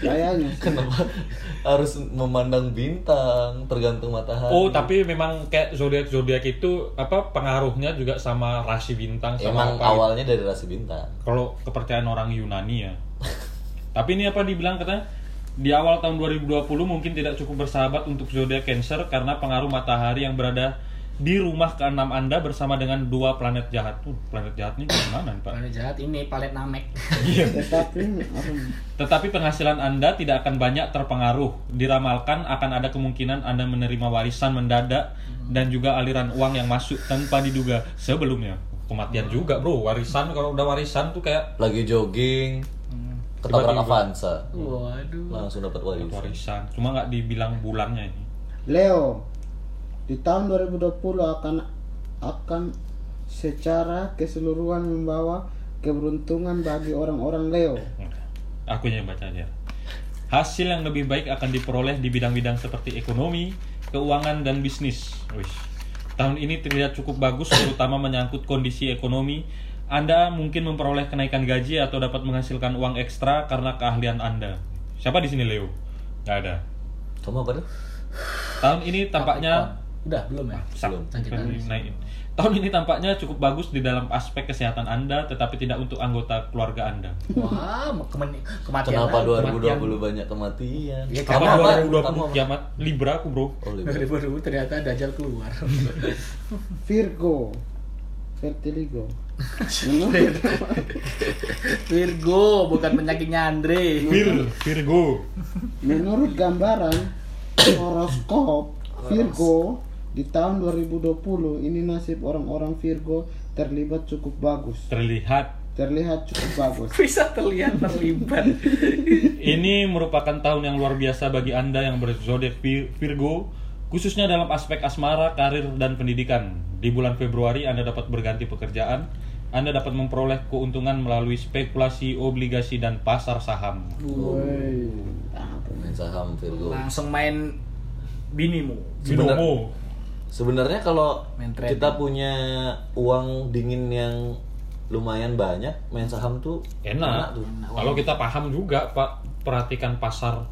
kayaknya. Kenapa harus memandang bintang tergantung matahari? Oh, tapi memang kayak zodiak-zodiak itu apa pengaruhnya juga sama rasi bintang sama Emang apa. ya? gitu. awalnya dari rasi bintang. Kalau kepercayaan orang Yunani ya. tapi ini apa dibilang katanya di awal tahun 2020 mungkin tidak cukup bersahabat untuk zodiak Cancer karena pengaruh matahari yang berada di rumah keenam Anda bersama dengan dua planet jahat. Tuh, planet jahat ini gimana nih, Pak? Planet jahat ini palet namek Tetapi apa nih? Tetapi penghasilan Anda tidak akan banyak terpengaruh. Diramalkan akan ada kemungkinan Anda menerima warisan mendadak dan juga aliran uang yang masuk tanpa diduga sebelumnya. Kematian juga, Bro. Warisan kalau udah warisan tuh kayak Lagi jogging, Hmm. ketabrak Avanza, waduh langsung dapat warisan. warisan. Cuma nggak dibilang bulannya ini. Leo di tahun 2020 akan akan secara keseluruhan membawa keberuntungan bagi orang-orang Leo. Aku yang baca aja. Hasil yang lebih baik akan diperoleh di bidang-bidang seperti ekonomi, keuangan, dan bisnis. Wih. Tahun ini terlihat cukup bagus, terutama menyangkut kondisi ekonomi. Anda mungkin memperoleh kenaikan gaji atau dapat menghasilkan uang ekstra karena keahlian Anda. Siapa di sini Leo? Gak ada. Kamu apa tuh? Tahun ini tampaknya udah belum ya Sak, Belum. kan dinaikin. Tahun ini tampaknya cukup bagus di dalam aspek kesehatan Anda, tetapi tidak untuk anggota keluarga Anda. wah kemen- kematian Kenapa lagi. 2020 banyak kematian? Ya, Kamu karena apa? Kamu 2020 apa? kiamat Libra aku, Bro. Oh, Libra. 2020 ternyata dajal keluar Virgo, Vertiligo. Menurut Virgo bukan penyakitnya Andre Vir, Virgo. Menurut gambaran horoskop Virgo di tahun 2020 ini nasib orang-orang Virgo terlibat cukup bagus. Terlihat Terlihat cukup bagus. bisa terlihat terlibat ini merupakan tahun yang luar biasa bagi Anda yang berzodiak Vir- Virgo, khususnya dalam aspek asmara, karir, dan pendidikan. Di bulan Februari Anda dapat berganti pekerjaan, Anda dapat memperoleh keuntungan melalui spekulasi, obligasi, dan pasar saham. Woi, apa nih? Main saham Virgo. langsung main binimu Sebenar- Binomo. Sebenarnya kalau Main trading. kita punya uang dingin yang lumayan banyak, main saham tuh Enak. tuh. Kalau kita paham juga, Pak, perhatikan pasar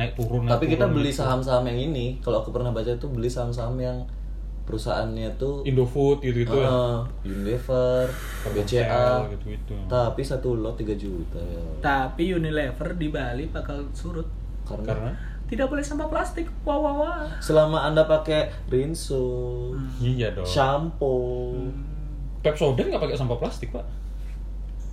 naik turun. naik Tapi kita turun. beli saham-saham yang ini, kalau aku pernah baca tuh beli saham-saham yang perusahaannya tuh Indofood gitu-gitu ya. eh, Unilever, BCA, gitu-gitu. tapi satu lot 3 juta ya. tapi Unilever di Bali bakal surut Karena, Karena tidak boleh sampah plastik wah wah wah selama Anda pakai rinso, iya dong. shampoo, Hmm. Pepsodent nggak pakai sampah plastik pak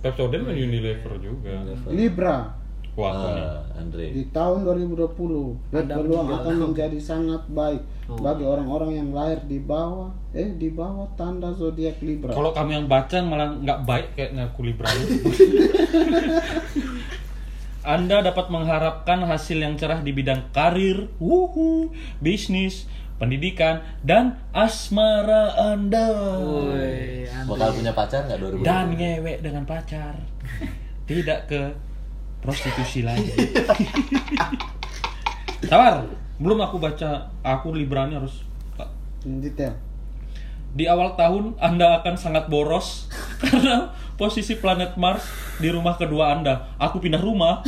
Pepsodent dan Hmm. Unilever juga Libra, Wah, Ah, Andre. di tahun 2020 Red Balloon akan menjadi sangat baik Oh. bagi orang-orang yang lahir di bawah eh di bawah tanda zodiak Libra. Kalau kamu yang baca malah nggak baik kayak ngaku Libra. Anda dapat mengharapkan hasil yang cerah di bidang karir, wuhu, bisnis, pendidikan, dan asmara Anda. Bakal punya pacar nggak 2020? Dan ngewek dengan pacar. Tidak ke prostitusi lagi. Sabar, belum aku baca. Aku Libranya harus In detail. di awal tahun Anda akan sangat boros karena posisi planet Mars di rumah kedua Anda. Aku pindah rumah,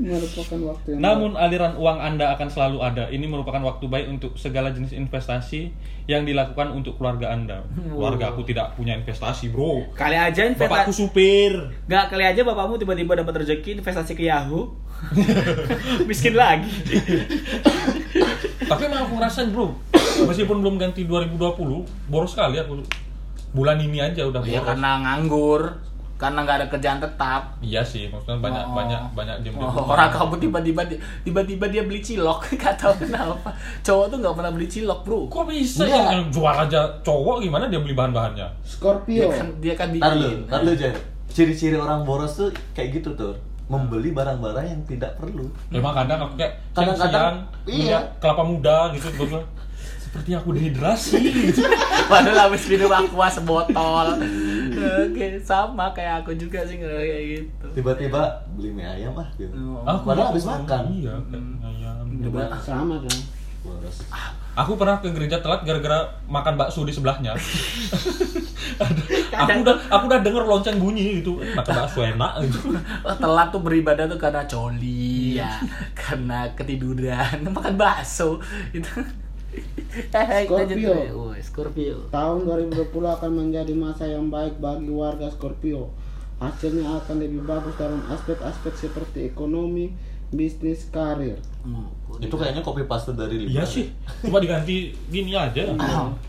Merupakan waktu yang namun aliran uang Anda akan selalu ada. Ini merupakan waktu baik untuk segala jenis investasi yang dilakukan untuk keluarga Anda. Keluarga aku tidak punya investasi, Bro. Kali aja Bapakku investasi supir. Gak kali aja bapakmu tiba-tiba dapat rezeki investasi ke Yahoo. Miskin lagi. Tapi emang aku ngerasain, Bro. Meskipun belum ganti 2020, boros sekali aku. Bulan ini aja udah boros. Ya karena nganggur, karena nggak ada kerjaan tetap. Iya sih, maksudnya banyak Oh. banyak banyak diem di Oh, rumah. orang kamu tiba-tiba di- tiba-tiba dia beli cilok, gak tahu kenapa. Cowok tuh nggak pernah beli cilok, bro. Kok bisa Iya. ya? Yang jual aja cowok gimana dia beli bahan-bahannya? Dia Ya Scorpio. kan dia kan Ntar lu, bikin. ntar lu Jan. Ciri-ciri orang boros tuh kayak gitu tuh. Membeli barang-barang yang tidak perlu. Memang Ya, kadang aku kayak Kadang-kadang, siang-siang iya. melihat kelapa muda gitu terus seperti aku dehidrasi gitu. Padahal habis minum aqua sebotol. Oke, sama kayak aku juga sih ngerasa kayak gitu. Tiba-tiba beli mie ayam ah gitu. Aku Padahal habis makan. Iya, kayak ayam. Sama dong. Boros. Aku pernah ke gereja telat gara-gara makan bakso di sebelahnya. Ada- aku udah aku udah denger lonceng bunyi gitu. Eh, Makan bakso enak gitu. Wah, Oh, telat tuh beribadah tuh karena coli ya, karena ketiduran, makan bakso gitu. Eh, kita jadi- Scorpio. Woi, Scorpio. Tahun 2020 akan menjadi masa yang baik bagi warga Scorpio. Hasilnya akan lebih bagus dalam aspek-aspek seperti ekonomi, bisnis, karir. Itu kayaknya copy paste dari Libra. Iya sih. Coba diganti gini aja. Lanjut,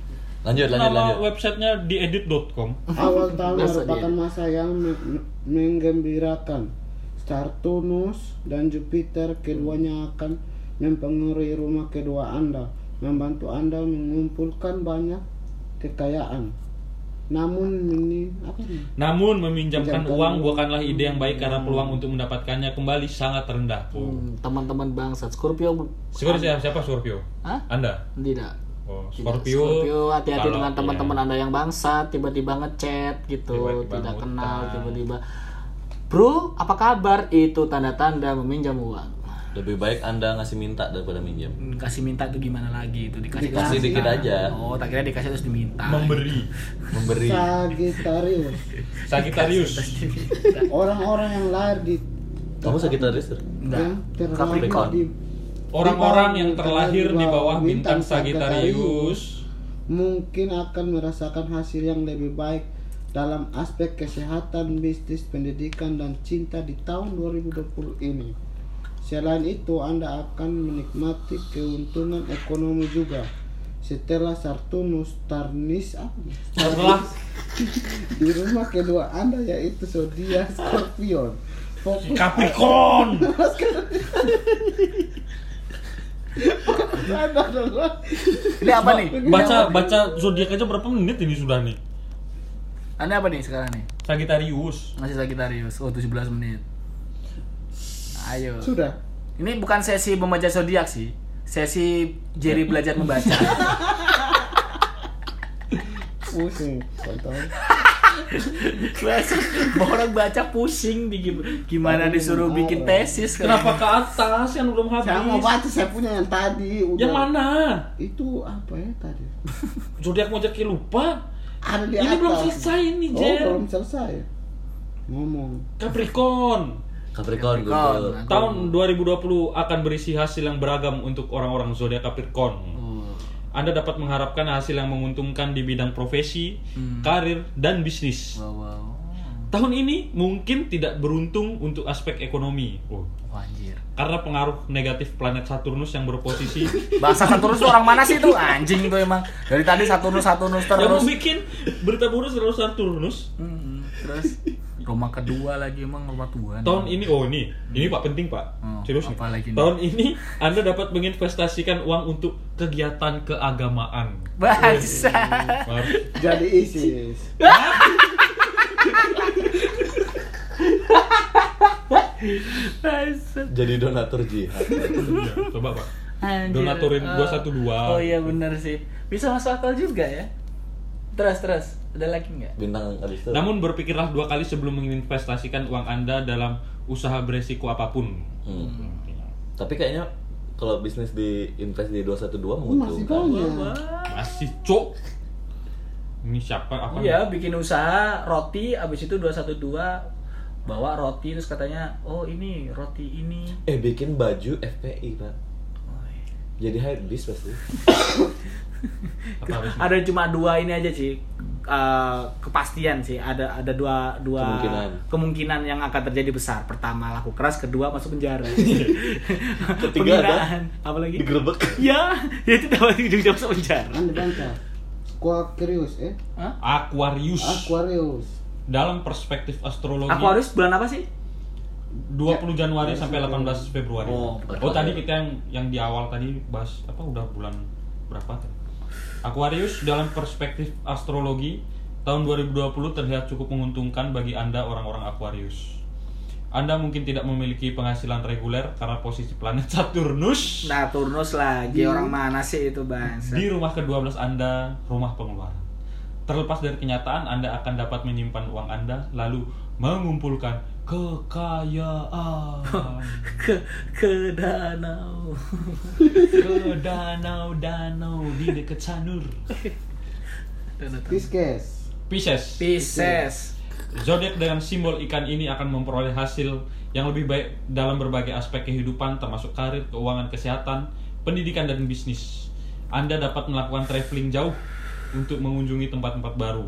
lanjut, Nama lanjut. websitenya diedit.com. Awal tahun Masa merupakan masa yang me- menggembirakan. Saturnus dan Jupiter keduanya akan mempengaruhi rumah kedua Anda, membantu Anda mengumpulkan banyak kekayaan. Namun ini apa ini? Namun meminjamkan Pinjamkan uang bukanlah ide yang baik karena peluang untuk mendapatkannya kembali sangat rendah. Oh. Hmm, teman-teman bangsat Scorpio Scorpio siapa, siapa Scorpio? Hah? Anda? tidak Oh, Tidak, Scorpio. Scorpio, hati-hati kalau- dengan teman-teman iya. Anda yang bangsat, tiba-tiba ngechat gitu, Tiba-tiba tidak ngutang. kenal, tiba-tiba Bro, apa kabar? Itu tanda-tanda meminjam uang. Lebih baik Anda ngasih minta daripada minjem. Kasih minta tuh gimana lagi? Itu dikasih Dikasih dikit aja. Oh, tak kira dikasih terus diminta. Memberi. Memberi. Sagittarius. Sagittarius. Orang-orang yang lahir di Kamu Sagittarius? Ter? yang terlahir Capricorn. di Orang-orang yang terlahir di bawah bintang Sagittarius. mungkin akan merasakan hasil yang lebih baik dalam aspek kesehatan, bisnis, pendidikan, dan cinta di tahun 2020 ini. Selain itu, Anda akan menikmati keuntungan ekonomi juga. Setelah Saturnus Tarnis apa nih? Setelah di rumah kedua Anda yaitu zodiak Scorpion. Fokus Capricorn. Anda adalah Ini apa nih? Baca baca zodiak aja berapa menit ini sudah nih? Anda apa nih sekarang nih? Sagittarius. Masih Sagittarius. Oh, 17 menit. Ayo. sudah. Ini bukan sesi membaca zodiak sih. Sesi Jerry belajar membaca. Pusing, kontol. Orang baca pusing di gim- gimana disuruh bikin tesis kan. oh, Kenapa ke atas yang belum habis? Saya mau baca, saya punya yang tadi. Udah. Yang mana? Itu apa ya tadi? Zodiak mau jadi lupa. Ada di Ini atas. belum selesai ini, Oh, Jer. belum selesai. Ngomong. Capricorn. Capricorn, Capricorn. Google. Tahun 2020 akan berisi hasil yang beragam untuk orang-orang zodiak Capricorn. Oh. Anda dapat mengharapkan hasil yang menguntungkan di bidang profesi, karir, dan bisnis. Wow, wow. Tahun ini mungkin tidak beruntung untuk aspek ekonomi. Oh, Wah, anjir. Karena pengaruh negatif planet Saturnus yang berposisi Bahasa Saturnus tuh orang mana sih itu? Anjing tuh emang. Dari Ya, tadi Saturnus Saturnus yang terus. mau bikin berita buruk selalu Saturnus. Mm-mm, Terus Roma kedua lagi emang rumah Tuhan. Tahun ini oh ini, ini Pak penting Pak. Hmm, Serius nih. apa lagi nih? Tahun ini Anda dapat menginvestasikan uang untuk kegiatan keagamaan. Iya. Bahasa. Maaf. Jadi ISIS. Jadi donatur jihad. Iya, Coba Pak. Donatorin gua satu dua. Oh iya benar sih. Bisa masuk akal juga ya. Terus terus, ada lagi nggak? Bintang Aristo. Namun berpikirlah dua kali sebelum menginvestasikan uang Anda dalam usaha beresiko apapun. Hmm. Tapi kayaknya kalau bisnis di invest di 212 Masih menguntungkan. Iya. banyak. Masih cok. Ini siapa apa? Iya, bikin usaha roti habis itu 212 bawa roti terus katanya, "Oh, ini roti ini." Eh bikin baju FPI pak. Jadi hype bis pasti. Apa habis ini? ada cuma dua ini aja sih eh, kepastian sih ada ada dua dua Kemungkinan. kemungkinan yang akan terjadi besar pertama laku keras kedua masuk penjara Iya. Ketiga ada Penghinaan. apa lagi digerebek. ya ya itu dapat ujung masuk penjara Anda bantah. Aquarius eh? Aquarius. Aquarius. Dalam perspektif astrologi Oh, gitu. aku harus bulan apa sih 20 Iya. Januari sampai 18 Februari. Oh, Oh, betul. tadi kita yang yang di awal tadi bahas apa udah bulan berapa tadi? Aquarius dalam perspektif astrologi tahun 2020 terlihat cukup menguntungkan bagi Anda orang-orang Aquarius. Anda mungkin tidak memiliki penghasilan reguler karena posisi planet Saturnus nah turnus lagi orang mana sih itu bangsa di rumah ke-12 Anda, rumah pengeluaran. Terlepas dari kenyataan, Anda akan dapat menyimpan uang Anda lalu mengumpulkan kekayaan. ke ke danau ke danau-danau di dekat Sanur. Pisces. Pisces. Pisces Zodiak dengan simbol ikan ini akan memperoleh hasil yang lebih baik dalam berbagai aspek kehidupan termasuk karir, keuangan, kesehatan, pendidikan dan bisnis. Anda dapat melakukan traveling jauh untuk mengunjungi tempat-tempat baru.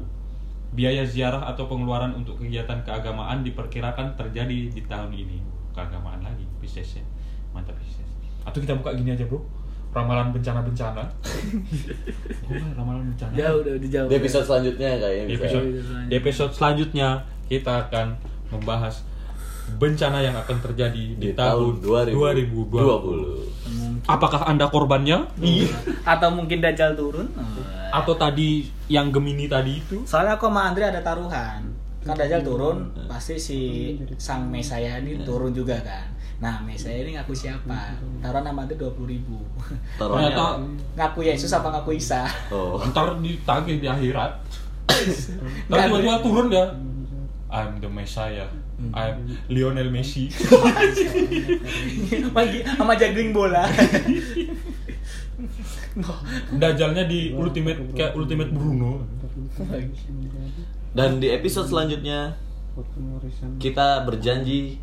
Biaya ziarah atau pengeluaran untuk kegiatan keagamaan diperkirakan terjadi di tahun ini. Keagamaan lagi, Pisces ya. Mantap Pisces. Atau kita buka gini aja, Bro. Ramalan bencana-bencana. Gua ramalan bencana. jauh udah udah jauh Di episode selanjutnya kayaknya Di bisa. episode, di episode selanjutnya kita akan membahas bencana yang akan terjadi Di di, tahun tahun 2020. 2020. Apakah Anda korbannya? atau mungkin dajal turun Iya. Atau tadi yang Gemini tadi itu? Soalnya aku sama Andre ada taruhan. Kan Dajjal turun, pasti si sang Mesaya ini turun juga kan. Nah, Mesaya ini ngaku siapa? Taruhan sama Andre 20 ribu. Taruhannya. Ternyata ngaku Yesus apa ngaku Isa? Oh. ntar ditagih di akhirat. Nggak, Ntar tiba-tiba turun ya. I'm the Messiah. I'm Lionel Messi. Magi- sama juggling bola. Dajalnya di ultimate kayak ultimate Bruno. Dan di episode selanjutnya kita berjanji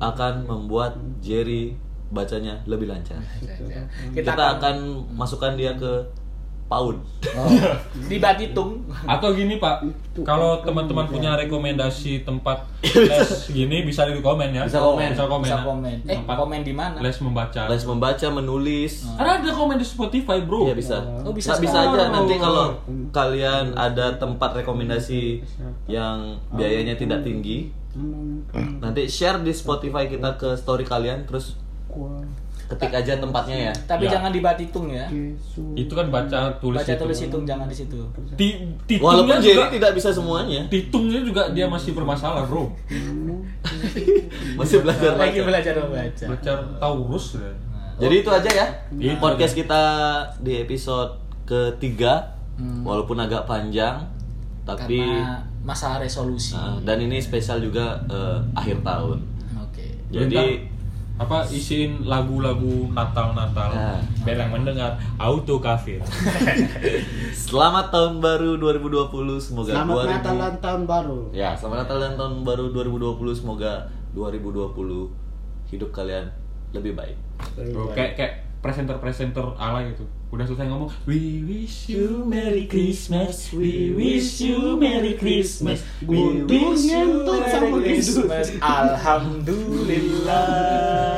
akan membuat Jerry bacanya lebih lancar. Kita, Kita akan akan masukkan dia ke PAUD. di Batitung. Atau gini Pak, kan kalau teman-teman punya rekomendasi tempat les gini bisa di komen ya. Bisa komen. bisa komen. Bisa ya. komen. Eh, Tempat komen di mana? Les Ya. membaca. Les membaca, menulis. Karena ada komen di Spotify, Bro. Iya bisa. Hmm. Oh, bisa Nah, bisa sekarang. Oh. aja nanti kalau kalian ada tempat rekomendasi yang biayanya Oh. tidak tinggi, nanti share di Spotify kita ke story kalian terus ketik aja tempatnya ya. Tapi Ya. jangan di Batitung ya. Itu kan baca tulis Baca itu. tulis hitung jangan di situ. Ti- titungnya Walaupun juga, Jerry tidak bisa semuanya, titungnya juga dia masih bermasalah, Bro. masih belajar Nah, Lagi baca. belajar membaca. Baca Taurus ya. Jadi itu aja ya Iya. podcast kita di episode ketiga, walaupun agak panjang, tapi Hmm. Karena masa resolusi. Nah, dan ini spesial juga eh, akhir tahun. Oke. Jadi Bentar, apa isiin lagu-lagu Natal-Natal Nah. biar yang mendengar auto kafir. Selamat tahun baru 2020. Semoga 2000 Selamat Natal dan tahun baru. Ya, selamat Natal dan tahun baru 2020. Semoga 2020 hidup kalian lebih baik. Iya. Tuh, kayak kayak presenter-presenter ala gitu. Udah selesai ngomong, we wish you Merry Christmas, we wish you Merry Christmas, we Bodoh ngentot sama tidur. Alhamdulillah. Oh.